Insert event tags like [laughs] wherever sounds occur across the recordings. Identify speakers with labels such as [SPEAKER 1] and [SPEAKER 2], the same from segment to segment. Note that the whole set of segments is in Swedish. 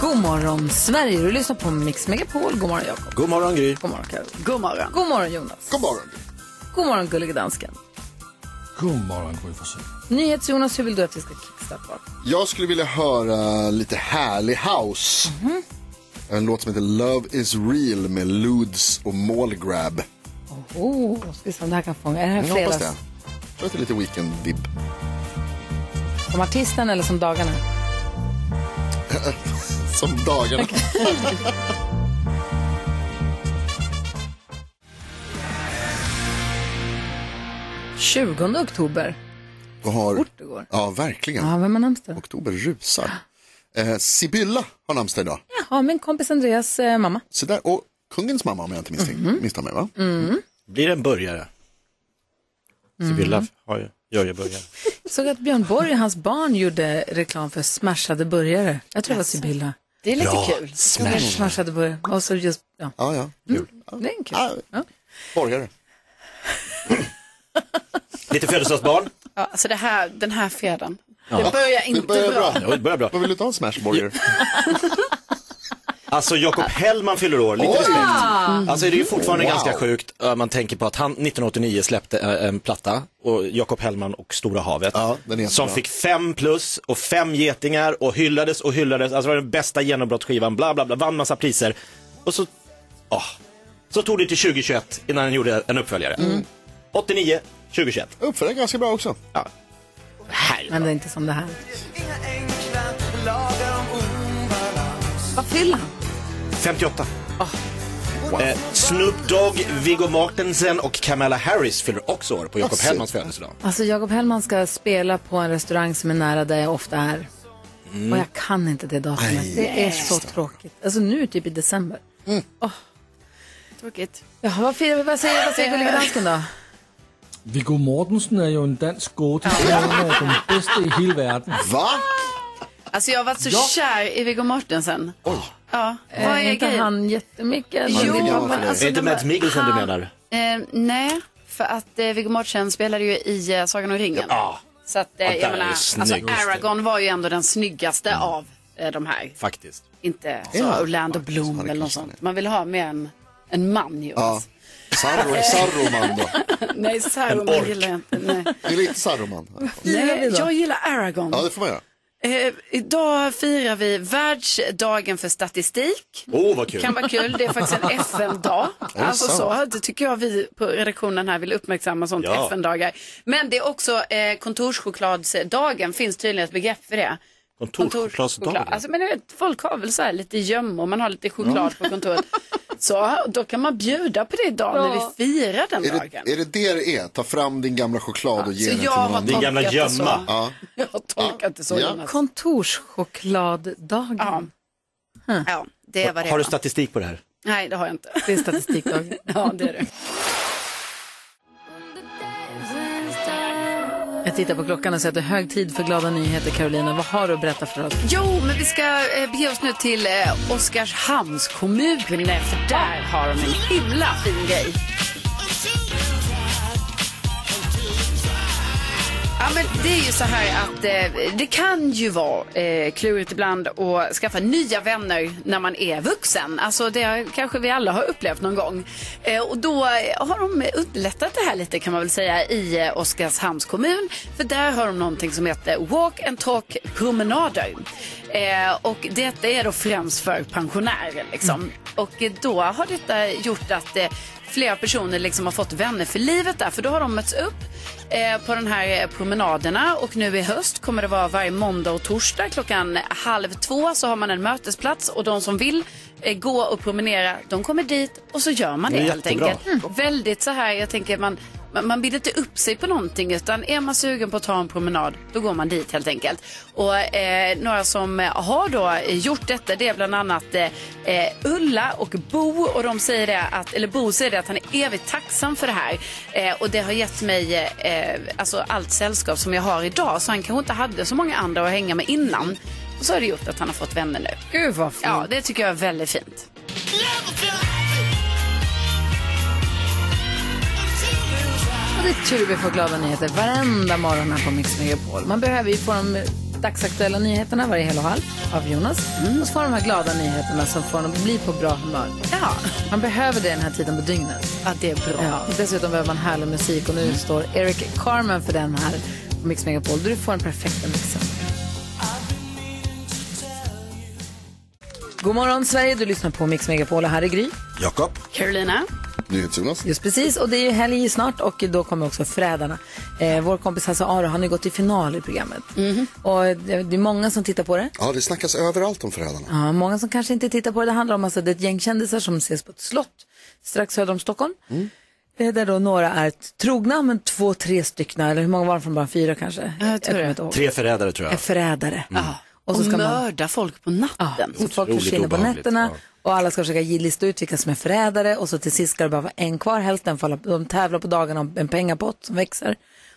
[SPEAKER 1] God morgon Sverige, du lyssnar på Mix Megapol. God morgon Jakob.
[SPEAKER 2] God morgon Gry.
[SPEAKER 1] God morgon Karo. God morgon. God morgon Jonas. God morgon. God morgon gullige dansken.
[SPEAKER 3] God morgon Gry Forssell.
[SPEAKER 1] NyhetsJonas, hur vill du att vi ska kickstarta?
[SPEAKER 4] Jag skulle vilja höra lite härlig house.
[SPEAKER 1] Mhm.
[SPEAKER 4] En låt som heter Love is real med Ludes och Mallgrab.
[SPEAKER 1] Oh, ska vi se om det här kan fånga. Är det här
[SPEAKER 4] Jag hoppas
[SPEAKER 1] fredags?
[SPEAKER 4] det. Jag tror att det är lite weekend-vibb.
[SPEAKER 1] Som artisten eller som dagarna?
[SPEAKER 4] Som dagarna.
[SPEAKER 1] Okej. 20 oktober.
[SPEAKER 4] Och har...
[SPEAKER 1] Det går.
[SPEAKER 4] Ja, verkligen.
[SPEAKER 1] Ja, vem har namnsdag?
[SPEAKER 4] Oktober rusar. Eh, Sibylla har namnsdag idag.
[SPEAKER 1] Jaha, min kompis Andreas eh, mamma.
[SPEAKER 4] Så där. Och kungens mamma om jag inte misstänker
[SPEAKER 1] Mhm.
[SPEAKER 4] misstar mig va?
[SPEAKER 1] Mm.
[SPEAKER 2] Blir det en burgare? Sibylla har ju, gör ju burgare.
[SPEAKER 1] Såg att Björn Borg och hans barn gjorde reklam för smashade burgare. Jag tror det var Sibylla.
[SPEAKER 5] Det är lite kul.
[SPEAKER 1] Smashade burgare. Och så just, ja,
[SPEAKER 4] Ja, ja. Kul.
[SPEAKER 1] Mm. det är en kul.
[SPEAKER 4] Ja.
[SPEAKER 1] Ja.
[SPEAKER 4] Borgare.
[SPEAKER 2] Lite födelsedagsbarn.
[SPEAKER 5] Ja, alltså det här, den här fredagen. Det börjar inte
[SPEAKER 4] Det börjar
[SPEAKER 5] bra.
[SPEAKER 4] bra.
[SPEAKER 2] Jo, det börjar bra.
[SPEAKER 4] Vad vill du ta en smashburger?
[SPEAKER 2] Alltså Jakob Hellman fyller år, lite respekt. Alltså det är ju fortfarande
[SPEAKER 4] Wow.
[SPEAKER 2] ganska sjukt, eh, man tänker på att han 1989 släppte eh, en platta, och Jakob Hellman och Stora havet,
[SPEAKER 4] Ja, den är jättebra.
[SPEAKER 2] som fick fem plus och fem getingar och hyllades och hyllades, alltså det var den bästa genombrottsskivan, bla bla bla, vann massa priser. Och så, ah, så tog det till 2021 innan han gjorde en uppföljare. 89, 2021.
[SPEAKER 4] Uppför den ganska bra också.
[SPEAKER 1] Men det är inte som det här. Vad fyller han?
[SPEAKER 2] 58.
[SPEAKER 5] Ah.
[SPEAKER 2] Eh, Snoop Dogg, Viggo Mortensen och Kamala Harris fyller också år på Jakob
[SPEAKER 4] Jaså.
[SPEAKER 2] Hellmans födelsedag.
[SPEAKER 1] Alltså Jakob Hellman ska spela på en restaurang som är nära där jag ofta är. Och jag kan inte det datumet. Det är så tråkigt. Alltså nu typ i december.
[SPEAKER 5] Tråkigt.
[SPEAKER 1] Ja, vad, fir- vad säger, vad säger gullige dansken [laughs] då?
[SPEAKER 3] Viggo Mortensen är ju en dansk skådis. Han är en av de bästa i hela världen.
[SPEAKER 4] Va?
[SPEAKER 5] Alltså jag har varit så kär i Viggo Mortensen. Ja, vad
[SPEAKER 1] Är
[SPEAKER 5] är
[SPEAKER 1] inte
[SPEAKER 5] grejen?
[SPEAKER 1] han jättemycket?
[SPEAKER 5] Jo,
[SPEAKER 4] är gammal för
[SPEAKER 5] men
[SPEAKER 4] dig.
[SPEAKER 2] Är det
[SPEAKER 5] alltså,
[SPEAKER 2] inte
[SPEAKER 5] de-
[SPEAKER 2] Mads Mikkelsen du menar?
[SPEAKER 5] Eh, nej, för att eh, Viggo Mortensen spelade ju i eh, Sagan om ringen.
[SPEAKER 2] Ja,
[SPEAKER 5] Så att
[SPEAKER 2] Ja,
[SPEAKER 5] eh,
[SPEAKER 2] där
[SPEAKER 5] jag
[SPEAKER 2] är
[SPEAKER 5] menar,
[SPEAKER 2] det
[SPEAKER 5] alltså
[SPEAKER 2] snyggt. Mm.
[SPEAKER 5] Aragorn var ju ändå den snyggaste av eh, de här.
[SPEAKER 2] faktiskt.
[SPEAKER 5] Inte så Orlando Bloom eller något sånt. Man vill ha med en, en man ju.
[SPEAKER 4] Ja. Sarro, Sarroman då.
[SPEAKER 5] Nej, Saruman
[SPEAKER 2] ork.
[SPEAKER 5] gillar jag inte. Nej.
[SPEAKER 4] Det är lite Sarroman.
[SPEAKER 5] Nej, jag gillar Aragorn.
[SPEAKER 4] Ja, det får man göra.
[SPEAKER 5] Eh, idag firar vi världsdagen för statistik.
[SPEAKER 2] Åh, vad kul.
[SPEAKER 5] Kan vara kul, det är faktiskt
[SPEAKER 2] [laughs]
[SPEAKER 5] en FN-dag.
[SPEAKER 4] det
[SPEAKER 5] Alltså så,
[SPEAKER 4] sant?
[SPEAKER 5] det tycker jag vi på redaktionen här vill uppmärksamma sånt
[SPEAKER 2] Ja.
[SPEAKER 5] FN-dagar. Men det är också eh, kontorschokladsdagen, finns tydligen ett begrepp för det.
[SPEAKER 2] Kontorschokladsdagen.
[SPEAKER 5] Alltså, men jag vet, folk har väl så här lite gömmor, man har lite choklad på kontoret. Så då kan man bjuda på det idag när vi firar den
[SPEAKER 4] Är
[SPEAKER 5] dagen.
[SPEAKER 4] det, är det det det är? Ta fram din gamla choklad och ge
[SPEAKER 5] Så
[SPEAKER 4] den till
[SPEAKER 5] jag
[SPEAKER 4] någon
[SPEAKER 5] har
[SPEAKER 4] annan.
[SPEAKER 2] Din gamla
[SPEAKER 5] tolkat det
[SPEAKER 2] gömma.
[SPEAKER 5] så.
[SPEAKER 4] Ja.
[SPEAKER 5] Jag har tolkat det så,
[SPEAKER 4] Ja.
[SPEAKER 5] Jonas.
[SPEAKER 1] Kontorschokladdagen.
[SPEAKER 5] Ja. Ja, det var det.
[SPEAKER 2] Har du
[SPEAKER 5] va?
[SPEAKER 2] statistik på det här?
[SPEAKER 5] Nej, det har jag inte.
[SPEAKER 1] Det är statistikdagen.
[SPEAKER 5] [laughs] Ja, det är det.
[SPEAKER 1] Jag tittar på klockan och säger att det är hög tid för glada nyheter. Carolina, vad har du att berätta för oss?
[SPEAKER 5] Jo, men vi ska eh, bege oss nu till eh, Oskarshamns kommun, för där har de en himla fin grej. Ja, men det är ju så här att eh, det kan ju vara eh, klurigt ibland att skaffa nya vänner när man är vuxen. Alltså det kanske vi alla har upplevt någon gång. Eh, och då eh, har de underlättat det här lite kan man väl säga i eh, Oskarshamns kommun. För där har de någonting som heter Walk and Talk promenader. Eh, och detta är då främst för pensionärer liksom.
[SPEAKER 2] Mm.
[SPEAKER 5] Och eh, då har detta gjort att eh, flera personer liksom har fått vänner för livet där. För då har de mötts upp eh, på de här eh, promenaderna och nu i höst kommer det vara varje måndag och torsdag klockan halv två så har man en mötesplats och de som vill eh, gå och promenera de kommer dit och så gör man det
[SPEAKER 2] Det är
[SPEAKER 5] helt
[SPEAKER 2] jättebra. Mm.
[SPEAKER 5] enkelt. Väldigt så här, jag tänker man Man, man binder inte upp sig på någonting utan är man sugen på att ta en promenad då går man dit helt enkelt. Och eh, några som eh, har då eh, gjort detta det är bland annat eh, eh, Ulla och Bo och de säger det att, eller Bo säger det att han är evigt tacksam för det här eh, och det har gett mig eh, alltså allt sällskap som jag har idag så han kanske inte hade så många andra att hänga med innan. Och så har det gjort att han har fått vänner nu.
[SPEAKER 1] Gud vad fint.
[SPEAKER 5] Ja, det tycker jag är väldigt fint.
[SPEAKER 1] Och det är tur vi får glada nyheter varenda morgon här på Mix Megapol. Man behöver ju få de dagsaktuella nyheterna varje hel och halv av Jonas. Och så får de här glada nyheterna som får en att bli på bra humör.
[SPEAKER 5] Ja,
[SPEAKER 1] Man behöver det den här tiden på dygnet.
[SPEAKER 5] ja det är bra.
[SPEAKER 1] Ja, och dessutom behöver man härlig musik och nu står Eric Carmen för den här på Mix Megapol. Du får den perfekta mixen. God morgon Sverige, du lyssnar på Mix Megapol och här är Gry.
[SPEAKER 4] Jakob.
[SPEAKER 5] Carolina?
[SPEAKER 4] NyhetsJonas.
[SPEAKER 1] Just precis, och det är ju helg snart och då kommer också Förrädarna. Eh, vår kompis Hasse Aro, han har ju gått i final i programmet.
[SPEAKER 5] Mhm.
[SPEAKER 1] Och det det är många som tittar på det.
[SPEAKER 4] Ja, det snackas överallt om Förrädarna.
[SPEAKER 1] Ja, många som kanske inte tittar på det. Det handlar om alltså, det är ett gäng kändisar som ses på ett slott strax söder om Stockholm.
[SPEAKER 5] Mm.
[SPEAKER 1] Eh, Där då några är t- trogna, men två, tre stycken, eller hur många var det från början? Fyra kanske?
[SPEAKER 5] jag tror
[SPEAKER 1] kommer
[SPEAKER 5] det. Mm.
[SPEAKER 1] inte ihåg.
[SPEAKER 2] Tre förrädare tror
[SPEAKER 1] Är
[SPEAKER 2] jag.
[SPEAKER 1] förrädare.
[SPEAKER 5] Och,
[SPEAKER 1] Och så ska man...
[SPEAKER 5] mörda folk på natten.
[SPEAKER 1] Så folk
[SPEAKER 2] Otroligt
[SPEAKER 1] försvinner på
[SPEAKER 2] obehagligt,
[SPEAKER 1] nätterna
[SPEAKER 2] ja.
[SPEAKER 1] och alla ska försöka ge- lista ut vilka som är förrädare och så till sist ska det bara vara en kvar, hälften faller, de tävlar på dagarna om en pengapott som växer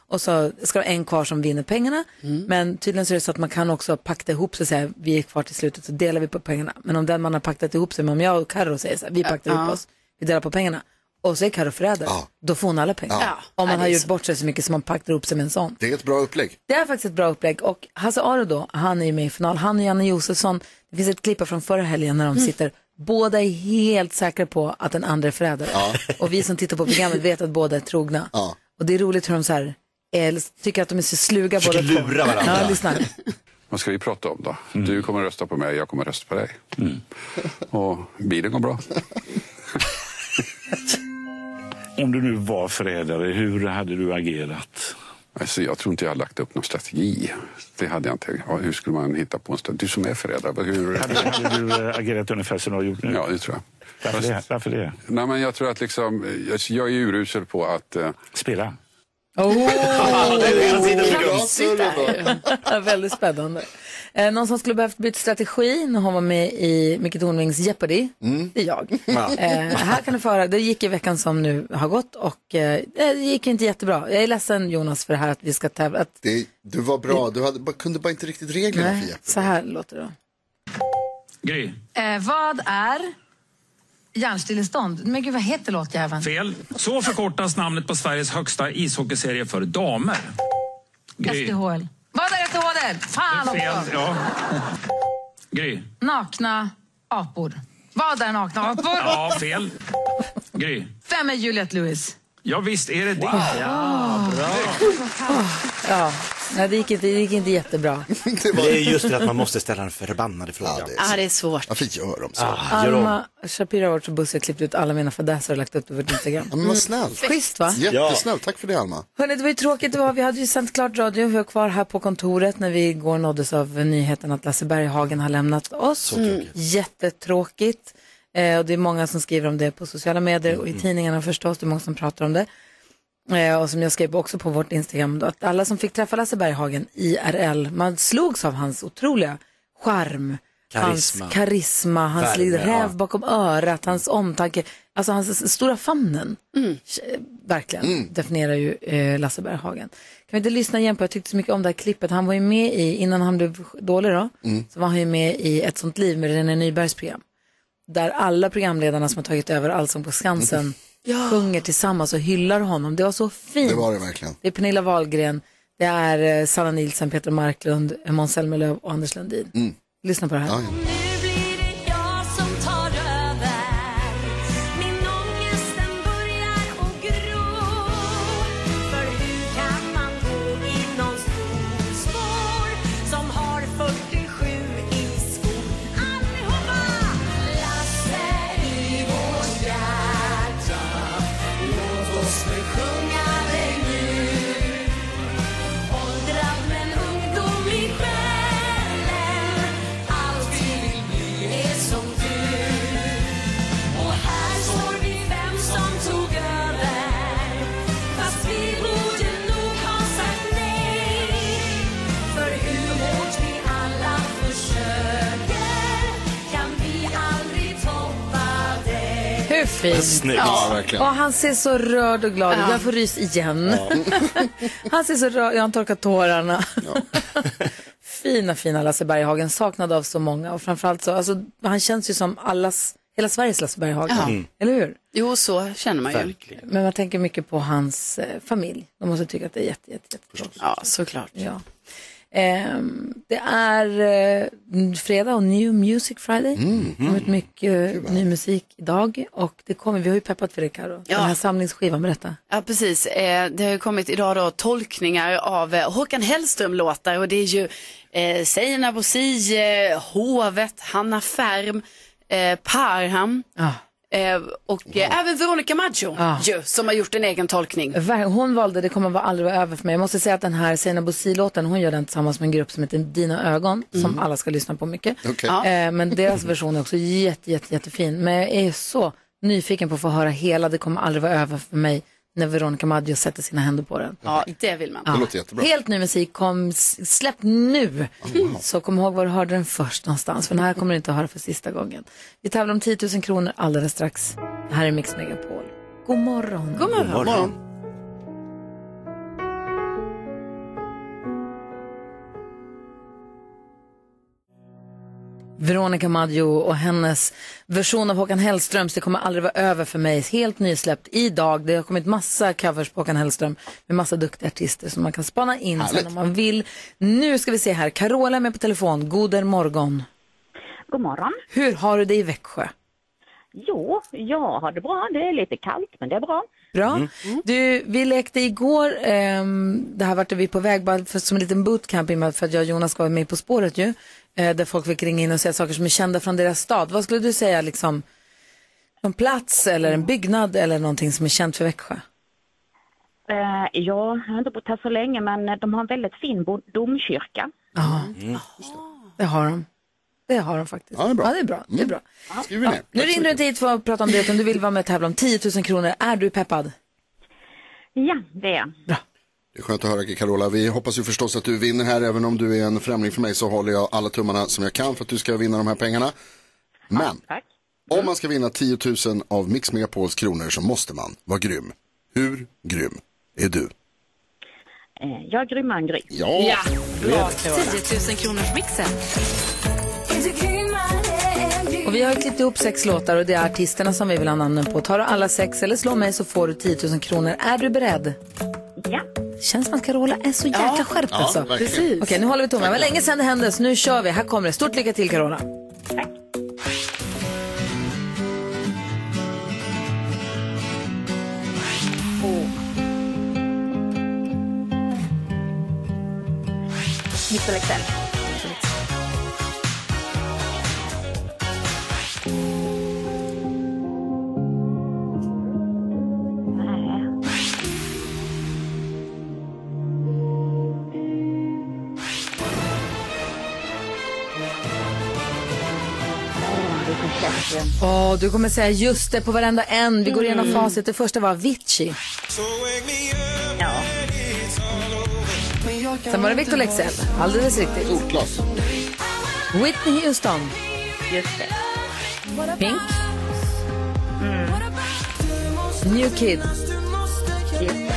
[SPEAKER 1] och så ska det vara en kvar som vinner pengarna.
[SPEAKER 5] Mm.
[SPEAKER 1] Men tydligen så är det så att man kan också pakta ihop sig och säga vi är kvar till slutet så delar vi på pengarna. Men om den man har paktat ihop sig med, om jag och Karo säger så här, vi paktar ihop oss, vi delar på pengarna och så är Karo förrädare, då får hon alla pengar.
[SPEAKER 5] Ja.
[SPEAKER 1] Om
[SPEAKER 5] Ja,
[SPEAKER 1] man
[SPEAKER 5] det
[SPEAKER 1] har
[SPEAKER 5] är
[SPEAKER 1] gjort
[SPEAKER 5] så.
[SPEAKER 1] bort sig så mycket som man paktar ihop sig med en sån.
[SPEAKER 4] Det är ett bra upplägg.
[SPEAKER 1] Det är faktiskt ett bra upplägg och Hasse Aro då, han är ju med i final. Han och Janne Josefsson, det finns ett klipp här från förra helgen när de
[SPEAKER 2] Mm.
[SPEAKER 1] sitter, båda är helt säkra på att den andra är förrädare. [laughs] Och vi som tittar på programmet vet att båda är trogna.
[SPEAKER 4] Ja.
[SPEAKER 1] Och det är roligt hur de så här, eh, tycker att de är så sluga båda
[SPEAKER 2] Försöker lura varandra.
[SPEAKER 1] Ja, lyssna.
[SPEAKER 6] Vad ska vi prata om då? Du kommer rösta på mig, jag kommer rösta på dig. Och bilen går bra.
[SPEAKER 7] Om du nu var förrädare, hur hade du agerat?
[SPEAKER 6] Alltså, jag tror inte jag har lagt upp någon strategi. Det hade jag inte. Ja, hur skulle man hitta på en strategi? Du som är förrädare, vad- hur...
[SPEAKER 7] Hade, hade du eh, agerat ungefär som du har gjort nu?
[SPEAKER 6] Ja, det tror jag.
[SPEAKER 7] Varför, det? Varför det?
[SPEAKER 6] Nej, men jag tror att liksom, eh, alltså, jag är urusel på att... Eh,
[SPEAKER 7] Spela.
[SPEAKER 1] Oh. [laughs] Väldigt spännande. Eh, någon som skulle behövt byta strategi när hon var med i Micke Tornvings Jeopardy, det är jag. Eh, här kan du föra, det gick i veckan som nu har gått och eh, det gick inte jättebra. Jag är ledsen Jonas för det här att vi ska tävla. Att,
[SPEAKER 4] Det, du var bra, du hade, bara- kunde bara inte riktigt reglerna för
[SPEAKER 1] nej,
[SPEAKER 4] Jeppe.
[SPEAKER 1] så här låter det.
[SPEAKER 7] Gry.
[SPEAKER 1] Eh, vad är hjärnstillestånd? Men gud, vad heter låtjäveln?
[SPEAKER 7] Fel. Så förkortas namnet på Sveriges högsta ishockeyserie för damer.
[SPEAKER 1] SDHL. Vad är SDHL? Fan
[SPEAKER 7] ja. Gry.
[SPEAKER 1] Nakna apor. Vad är nakna apor?
[SPEAKER 7] Ja, fel. Gry.
[SPEAKER 1] Vem är Juliette Lewis?
[SPEAKER 7] Ja, visst är det det.
[SPEAKER 1] Ja, nej, det, gick inte, det gick inte jättebra.
[SPEAKER 4] Det
[SPEAKER 2] Det är
[SPEAKER 4] var,
[SPEAKER 2] just det att man måste ställa den förbannade
[SPEAKER 4] ja,
[SPEAKER 2] frågan.
[SPEAKER 4] det,
[SPEAKER 5] Ja, det är svårt.
[SPEAKER 4] varför gör de så?
[SPEAKER 2] Ah, gör om.
[SPEAKER 1] Alma Shapiro har varit så bussig och klippt ut alla mina fadäser och lagt upp det på Instagram.
[SPEAKER 4] Ja, men vad snällt.
[SPEAKER 1] Schysst va?
[SPEAKER 4] Jättesnällt, tack för det Alma.
[SPEAKER 1] Hörrni, det var ju tråkigt det var. Vi hade ju sänt klart radio. Vi var kvar här på kontoret när vi igår nåddes av nyheten att Lasse Berghagen har lämnat oss. Mm. Jättetråkigt. Eh, och det är många som skriver om det på sociala medier och i tidningarna förstås. Det är många som pratar om det. Eh, och som jag skrev också på vårt Instagram då, att alla som fick träffa Lasse Berghagen IRL, man slogs av hans otroliga charm,
[SPEAKER 2] Karisma.
[SPEAKER 1] hans karisma, hans
[SPEAKER 2] Värme,
[SPEAKER 1] lilla räv
[SPEAKER 2] ja.
[SPEAKER 1] bakom örat, hans omtanke, alltså hans stora famnen. Eh, Verkligen,
[SPEAKER 4] Mm.
[SPEAKER 1] definierar ju eh, Lasse Berghagen. Kan vi inte lyssna igen på, jag tyckte så mycket om det här klippet, han var ju med i, innan han blev dålig då,
[SPEAKER 4] Mm.
[SPEAKER 1] så var han ju med i Ett sånt liv med René Nybergs program där alla programledarna som har tagit över Allsång på
[SPEAKER 4] Mm. [laughs]
[SPEAKER 1] Skansen sjunger tillsammans och hyllar honom. Det var så fint.
[SPEAKER 4] Det var det verkligen.
[SPEAKER 1] Det är Pernilla Wahlgren, det är eh, Sanna Nilsson, Peter Marklund, eh, Måns Zelmerlöw och Anders Lundin. Lyssna på det här.
[SPEAKER 4] Mm. Ja,
[SPEAKER 8] Åldrad men ungdom i själen Allt vi vill
[SPEAKER 1] Hur fint?
[SPEAKER 2] Snyggt.
[SPEAKER 4] Ja, verkligen.
[SPEAKER 1] Och han ser så rörd och glad ut.
[SPEAKER 5] Ja.
[SPEAKER 1] Jag får rys igen. [laughs] han ser så rörd, jag har torkat tårarna. [laughs] fina, fina Lasse Berghagen, saknad av så många. Och framförallt så, alltså, han känns ju som allas, hela Sveriges Lasse Berghagen.
[SPEAKER 5] Ja. Mm.
[SPEAKER 1] Eller hur?
[SPEAKER 5] Jo, så känner man ju.
[SPEAKER 1] Men man tänker mycket på hans eh, familj. De måste tycka att det är jätte, jätte, jättetråkigt.
[SPEAKER 5] Ja, såklart.
[SPEAKER 1] Ja. Ehm, det är eh, fredag och New Music Friday. Det har varit mycket eh, ny musik idag och det kommer, vi har ju peppat för det Karo.
[SPEAKER 5] Ja.
[SPEAKER 1] Den här samlingsskivan, berätta.
[SPEAKER 5] Ja, precis. Eh, Det har ju kommit idag då tolkningar av eh, Håkan Hellström-låtar och det är ju eh, Seinabo Si, eh, Hovet, Hanna Färm, eh, Parham
[SPEAKER 1] Ja.
[SPEAKER 5] eh, och eh, även Veronica Maggio
[SPEAKER 1] Ja.
[SPEAKER 5] ju, som har gjort en egen tolkning.
[SPEAKER 1] Ver- Hon valde, det kommer vara aldrig vara över för mig. Jag måste säga att den här Seinabo låten hon gör den tillsammans med en grupp som heter Dina ögon, som alla ska lyssna på mycket.
[SPEAKER 4] Okej.
[SPEAKER 5] Ja.
[SPEAKER 1] Eh, Men deras version är också jätte, jätte, jättefin. Men jag är så nyfiken på att få höra hela, det kommer aldrig vara över för mig när Veronica Maggio sätter sina händer på den.
[SPEAKER 5] Ja, det vill man.
[SPEAKER 1] Ja.
[SPEAKER 4] låter jättebra. Oh,
[SPEAKER 1] Helt ny musik, kom, s- släpp nu. Så kom ihåg var du hörde den först någonstans, för den här kommer du inte att höra för sista gången. Vi tävlar om 10 000 kronor alldeles strax. Det här är Mix Megapol. God morgon.
[SPEAKER 5] God morgon.
[SPEAKER 1] Veronica Maggio och hennes version av Håkan Hellströms Det kommer aldrig vara över för mig. Helt nysläppt idag. Det har kommit massa covers på Håkan Hellström med massa duktiga artister som man kan spana in sen
[SPEAKER 4] Härligt.
[SPEAKER 1] om man vill. Nu ska vi se här. Carola är med på telefon. Goder morgon.
[SPEAKER 8] God morgon.
[SPEAKER 1] Hur har du det i Växjö?
[SPEAKER 8] Jo, jag har det bra. Det är lite kallt, men det är bra.
[SPEAKER 1] Bra.
[SPEAKER 4] Mm.
[SPEAKER 1] Du, vi lekte igår, ehm, det här vart vi på väg bara för, som en liten bootcamp i och med att- för att jag och Jonas ska vara med På spåret ju. Eh, där folk fick ringa in och säga saker som är kända från deras stad. Vad skulle du säga liksom, någon plats eller en byggnad eller någonting som är känt för Växjö?
[SPEAKER 8] Eh, jag har inte bott här så länge, men de har en väldigt fin bo- domkyrka.
[SPEAKER 1] Ja, det har de. Det har de faktiskt.
[SPEAKER 4] Mm. Ja, det är bra. Mm.
[SPEAKER 1] det är bra. Det är bra.
[SPEAKER 4] Skriver ner.
[SPEAKER 1] Nu
[SPEAKER 4] Tack så
[SPEAKER 1] ringer du inte hit för att prata om det utan du vill vara med och tävla om 10 000 kronor. Är du peppad?
[SPEAKER 8] Ja, det är
[SPEAKER 4] Det är skönt att höra Carola. Vi hoppas ju förstås att du vinner här. Även om du är en främling för mig så håller jag alla tummarna som jag kan för att du ska vinna de här pengarna. Men
[SPEAKER 8] Tack.
[SPEAKER 4] om man ska vinna 10 000 av Mix Megapols kronor så måste man vara grym. Hur grym är du?
[SPEAKER 8] Eh, jag är grymmare än grym.
[SPEAKER 4] Ja,
[SPEAKER 5] Ja, bra.
[SPEAKER 9] 10 000 kronors mixen.
[SPEAKER 1] Och vi har klippt ihop sex låtar och det är artisterna som vi vill ha namnen på. Tar du alla sex eller slå mig så får du 10 000 kronor. Är du beredd?
[SPEAKER 8] Ja.
[SPEAKER 1] Känns som att Carola är så jäkla skärpt alltså. Okej,
[SPEAKER 4] verkligen. Precis.
[SPEAKER 1] nu håller vi tummen. Det var länge sedan det hände så nu kör vi. Här kommer det. Stort lycka till Carola.
[SPEAKER 8] Mix Alexell. Nej. Åh, vilken käften.
[SPEAKER 1] Åh, du kommer säga just det på varenda en. Vi går igenom
[SPEAKER 8] Mm.
[SPEAKER 1] facit. Det första var Avicii.
[SPEAKER 8] Ja.
[SPEAKER 1] Sen var det Victor Lexell. Alldeles riktigt.
[SPEAKER 4] solklart.
[SPEAKER 1] Whitney Houston.
[SPEAKER 8] Just det.
[SPEAKER 1] Pink.
[SPEAKER 8] Mm.
[SPEAKER 1] New Kid.
[SPEAKER 8] Just det.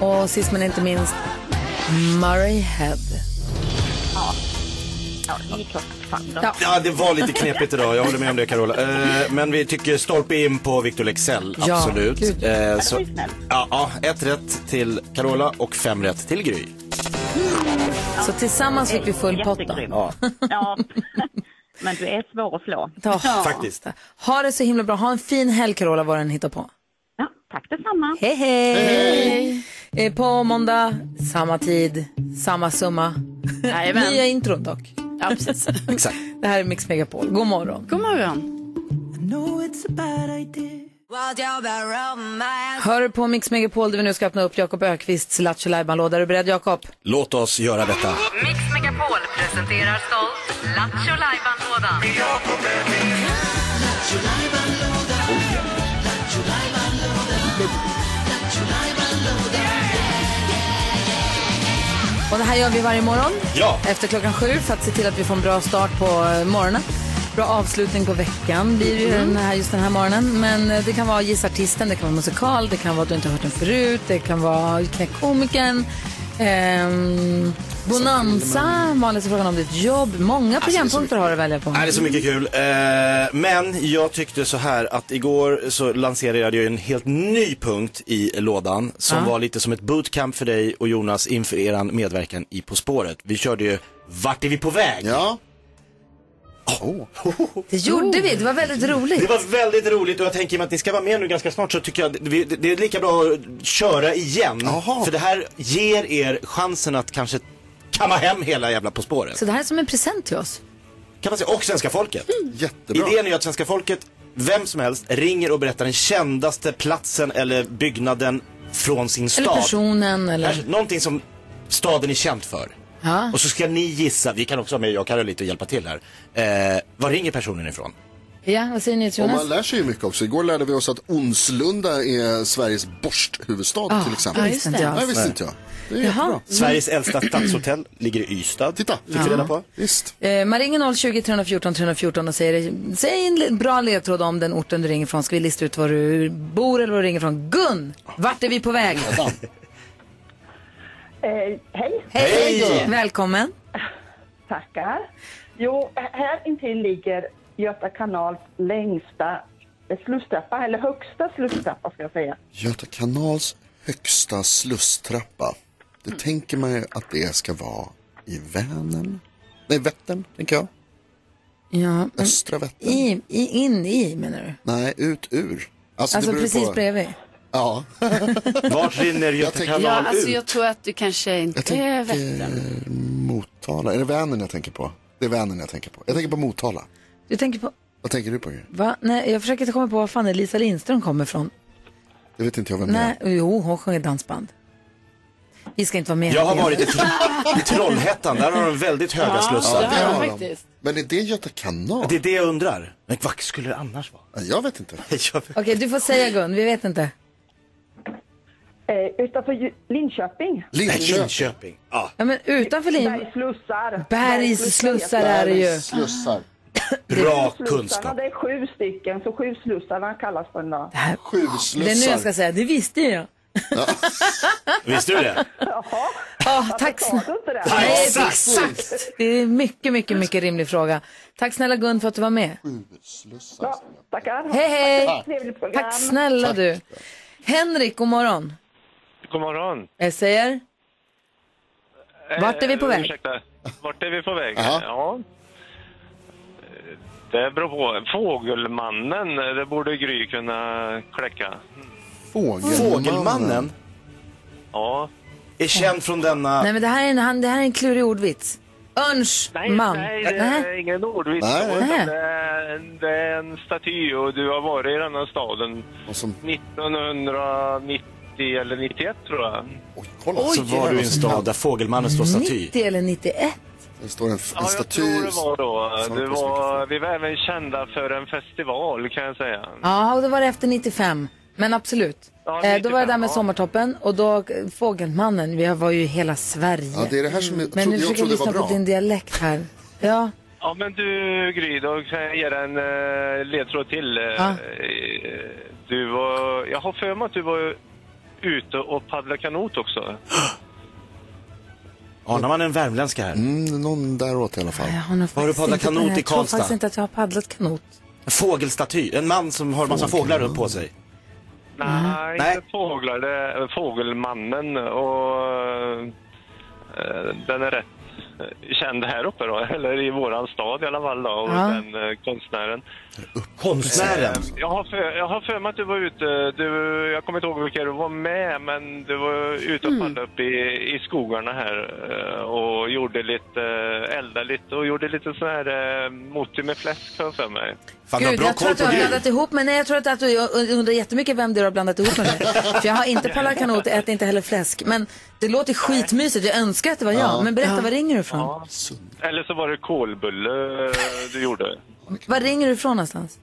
[SPEAKER 8] Ja.
[SPEAKER 1] Och sist men inte minst Murray Head.
[SPEAKER 8] Ja, det gick klart. Fan då.
[SPEAKER 1] Ja.
[SPEAKER 2] Ja, det var lite knepigt idag. Jag håller med om det Carola. Eh, men vi tycker stolpe in på Victor Lexell,
[SPEAKER 1] Ja,
[SPEAKER 2] absolut.
[SPEAKER 1] gud.
[SPEAKER 2] Eh, så,
[SPEAKER 8] var ju snällt.
[SPEAKER 2] ja, ja, ett rätt till Carola och fem rätt till Gry.
[SPEAKER 1] Så tillsammans fick vi full pott då.
[SPEAKER 8] Jättegrym. Ja. [laughs] Men du är svår att slå.
[SPEAKER 1] Ta.
[SPEAKER 2] Faktiskt.
[SPEAKER 1] Ha det så himla bra. Ha en fin helg Carola, vad den hittar på.
[SPEAKER 8] Ja, tack detsamma.
[SPEAKER 1] Hej hej! hej, Eh, På måndag, samma tid, samma summa.
[SPEAKER 5] Jajamän.
[SPEAKER 1] [laughs] Nya intron dock.
[SPEAKER 5] Ja, precis.
[SPEAKER 2] Exakt.
[SPEAKER 1] Det här är Mix Megapol. God morgon.
[SPEAKER 5] God morgon.
[SPEAKER 1] Hör du på Mix Megapol där vi nu ska öppna upp Jakob Ökvists Lattjo Lajban-låda. Är du beredd Jakob?
[SPEAKER 2] Låt oss göra detta.
[SPEAKER 9] Mix Megapol presenterar stolt Lattjo Lajban-lådan.
[SPEAKER 1] Och det här gör vi varje morgon
[SPEAKER 2] Ja.
[SPEAKER 1] efter klockan sju för att se till att vi får en bra start på eh, morgonen. Bra avslutning på veckan blir det ju
[SPEAKER 2] Mm.
[SPEAKER 1] den här, just den här morgonen. Men eh, det kan vara Gissa artisten, det kan vara musikal, det kan vara att du inte har hört den förut, det kan vara Knäck komikern. Ehm, bonanza, Malin så frågan om ditt jobb. Många
[SPEAKER 2] Alltså,
[SPEAKER 1] programpunkter har du att välja på.
[SPEAKER 2] Nej, det är så mycket kul. Eh, men jag tyckte så här att igår så lanserade jag en helt ny punkt i lådan som
[SPEAKER 10] Ja.
[SPEAKER 2] var lite som ett bootcamp för dig och Jonas inför eran medverkan i På spåret. Vi körde ju Vart är vi på väg? Ja.
[SPEAKER 1] Det gjorde vi, det var väldigt roligt.
[SPEAKER 2] Oh. Det var väldigt roligt och jag tänker mig att ni ska vara med nu ganska snart så tycker jag att vi- det det är lika bra att köra igen. För det här ger er chansen att kanske kamma hem hela jävla På spåret.
[SPEAKER 1] Så det här är som en present till oss.
[SPEAKER 2] kan man säga, och svenska folket.
[SPEAKER 1] Mm.
[SPEAKER 4] Jättebra.
[SPEAKER 2] Idén är ju att svenska folket, vem som helst, ringer och berättar den kändaste platsen eller byggnaden från sin stad.
[SPEAKER 1] Eller personen
[SPEAKER 2] Kanske
[SPEAKER 1] eller...
[SPEAKER 2] Någonting som staden är känd för.
[SPEAKER 1] Ja.
[SPEAKER 2] Och så ska ni gissa, vi kan också ha med jag och Karol lite och hjälpa till här. Eh, var ringer personen ifrån?
[SPEAKER 1] Mm. ja, vad säger ni till
[SPEAKER 4] Och
[SPEAKER 1] Jonas?
[SPEAKER 4] man lär sig ju mycket också. Igår lärde vi oss att Onslunda är Sveriges borsthuvudstad
[SPEAKER 1] Ah,
[SPEAKER 4] till exempel.
[SPEAKER 1] det visste inte jag.
[SPEAKER 4] Nej, visste inte jag. Det är jättebra.
[SPEAKER 2] Sveriges äldsta stadshotell ligger i Ystad. Titta, fick
[SPEAKER 1] Ja.
[SPEAKER 2] vi reda på.
[SPEAKER 4] Visst.
[SPEAKER 1] Eh, man ringer 020 314 314 och säger, säg en le- bra ledtråd om den orten du ringer från. Ska vi lista ut var du bor eller var du ringer från? Gun, vart är vi på väg?
[SPEAKER 11] Eh, hej.
[SPEAKER 1] Hej! Välkommen.
[SPEAKER 11] Tackar. Jo, här intill ligger Göta kanals längsta eh, slusstrappa, eller högsta slusstrappa ska jag säga.
[SPEAKER 4] Göta kanals högsta slusstrappa. Det
[SPEAKER 1] Mm.
[SPEAKER 4] tänker man ju att det ska vara i Vänern. Nej, Vättern, tänker jag.
[SPEAKER 1] Ja, men
[SPEAKER 4] Östra Vättern.
[SPEAKER 1] Mm. i, i, in i menar du?
[SPEAKER 4] Nej, ut ur.
[SPEAKER 1] Alltså,
[SPEAKER 4] det beror ju
[SPEAKER 1] precis
[SPEAKER 4] på-
[SPEAKER 1] bredvid?
[SPEAKER 4] Ja.
[SPEAKER 2] Vart rinner
[SPEAKER 4] Jag
[SPEAKER 2] Göta
[SPEAKER 4] tänker-
[SPEAKER 2] kanal
[SPEAKER 5] Ja, alltså
[SPEAKER 4] ut.
[SPEAKER 5] jag tror att du kanske inte
[SPEAKER 4] Jag tänker-
[SPEAKER 5] vet det.
[SPEAKER 4] Motala. Är det Vänern jag tänker på? Det är Vänern jag tänker på. Jag tänker på Motala.
[SPEAKER 1] Du tänker på,
[SPEAKER 4] Vad tänker du på? Gry?
[SPEAKER 1] va? Nej, jag försöker komma på var fan Elisa Lindström kommer ifrån.
[SPEAKER 4] Det vet inte jag vem det är.
[SPEAKER 1] Nej, jo, hon sjunger dansband. Vi ska inte vara med.
[SPEAKER 2] Jag har varit i, Tro- i Trollhättan, där har de väldigt höga
[SPEAKER 1] Ja,
[SPEAKER 2] slussar.
[SPEAKER 1] det har de Ja, de- faktiskt.
[SPEAKER 4] Men är det Göta kanal?
[SPEAKER 2] Det är det jag undrar. Men vad skulle det annars vara?
[SPEAKER 4] Jag vet inte.
[SPEAKER 1] Okej, du får säga Gun, vi vet inte.
[SPEAKER 11] Eh, utanför Ju- Linköping.
[SPEAKER 2] Linköping. Linköping. Ja.
[SPEAKER 1] Ja, men utanför Lin...
[SPEAKER 11] Bergsslussar.
[SPEAKER 1] Bergsslussar är det ju.
[SPEAKER 4] Slussar.
[SPEAKER 2] Bra
[SPEAKER 11] Slussarna,
[SPEAKER 2] kunskap.
[SPEAKER 11] Det är sju stycken, så sju slussarna kallas den då.
[SPEAKER 4] Sju
[SPEAKER 1] Det är nu jag ska säga, det visste ju jag.
[SPEAKER 2] Visste du det?
[SPEAKER 1] Ja, tack snälla. Nej,
[SPEAKER 2] Exakt.
[SPEAKER 1] exakt. Det är mycket, mycket, mycket rimlig fråga. Tack snälla Gun för att du var med.
[SPEAKER 11] Ja, tackar.
[SPEAKER 1] Hej, hej.
[SPEAKER 11] Trevligt program.
[SPEAKER 1] Tack snälla du. Henrik, god morgon.
[SPEAKER 12] God morgon.
[SPEAKER 1] Jag säger, Vart är vi på
[SPEAKER 12] Eh,
[SPEAKER 1] väg?
[SPEAKER 12] Ursäkta. Vart är vi på väg? Ja. Eh, Det beror på. Fågelmannen, eh, det borde Gry kunna kläcka.
[SPEAKER 4] Fågelmannen.
[SPEAKER 2] Fågelmannen
[SPEAKER 12] Ja.
[SPEAKER 2] är känd från denna...
[SPEAKER 1] nej men det här är en, han- det här är en klurig ordvits. Örnsman.
[SPEAKER 12] Nej, det är ingen ordvits.
[SPEAKER 1] Nej.
[SPEAKER 12] utan
[SPEAKER 1] Nej.
[SPEAKER 12] Det, är en, det är en staty och du har varit i den här staden 1990 eller 91 tror jag.
[SPEAKER 2] Så var du i en stad där Fågelmannen står staty.
[SPEAKER 1] 90 eller 91?
[SPEAKER 4] Det står en, en
[SPEAKER 12] Ja, jag
[SPEAKER 4] staty.
[SPEAKER 12] tror det var då.
[SPEAKER 4] Snart
[SPEAKER 12] Det
[SPEAKER 4] på så
[SPEAKER 12] var, vi var även kända för en festival kan jag säga.
[SPEAKER 1] Ja, och det var det efter 95. Men absolut.
[SPEAKER 12] Ja,
[SPEAKER 1] Eh, då var det
[SPEAKER 12] 95,
[SPEAKER 1] där
[SPEAKER 12] ja.
[SPEAKER 1] med sommartoppen och då eh, Fågelmannen. Vi var ju i hela Sverige.
[SPEAKER 4] Ja, det är det här som jag
[SPEAKER 1] men
[SPEAKER 4] trodde- jag
[SPEAKER 1] nu försöker
[SPEAKER 4] trodde
[SPEAKER 1] lyssna
[SPEAKER 4] var
[SPEAKER 1] på
[SPEAKER 4] bra.
[SPEAKER 1] din dialekt här. Ja,
[SPEAKER 12] Ja, men du Gry, då kan jag ge dig en eh, ledtråd till. eh, eh, Du var, jag har för mig att du var ute och paddlade kanot också.
[SPEAKER 2] Anar man en värmländska här?
[SPEAKER 4] Mm, någon däråt i alla fall.
[SPEAKER 1] hon har,
[SPEAKER 2] Har du
[SPEAKER 1] faktiskt
[SPEAKER 2] paddlat
[SPEAKER 1] inte-
[SPEAKER 2] kanot i
[SPEAKER 1] Jag tror faktiskt
[SPEAKER 2] Karlstad?
[SPEAKER 1] inte att jag har paddlat kanot.
[SPEAKER 2] En fågelstaty, en man som har en massa fåglar upp på sig.
[SPEAKER 12] Nej, inte fåglar. Det är fågelmannen och eh, den är rätt eh, känd här uppe då, [laughs] eller i våran stad i alla fall då, och
[SPEAKER 2] Ja.
[SPEAKER 12] den eh, konstnären.
[SPEAKER 2] Konstnären.
[SPEAKER 12] Eh, Jag har, för, jag har för mig att du var ute, du, jag kommer inte ihåg vilka du var med, men du var ute och paddlade upp i, i skogarna här eh, och gjorde lite, eh, eldade lite och gjorde lite sån här eh, moti med fläsk har jag för mig.
[SPEAKER 1] Gud, jag tror att du har blandat ihop mig. Nej, jag tror att du jag undrar jättemycket vem det är du har blandat ihop mig med. För jag har inte paddlat kanot, äter inte heller fläsk. Men det låter skitmysigt. Jag önskar att det var jag.
[SPEAKER 12] Ja.
[SPEAKER 1] Men berätta,
[SPEAKER 12] Ja.
[SPEAKER 1] var ringer du ifrån?
[SPEAKER 12] Eller så var det kolbulle eh, du gjorde.
[SPEAKER 1] Var ringer du ifrån någonstans?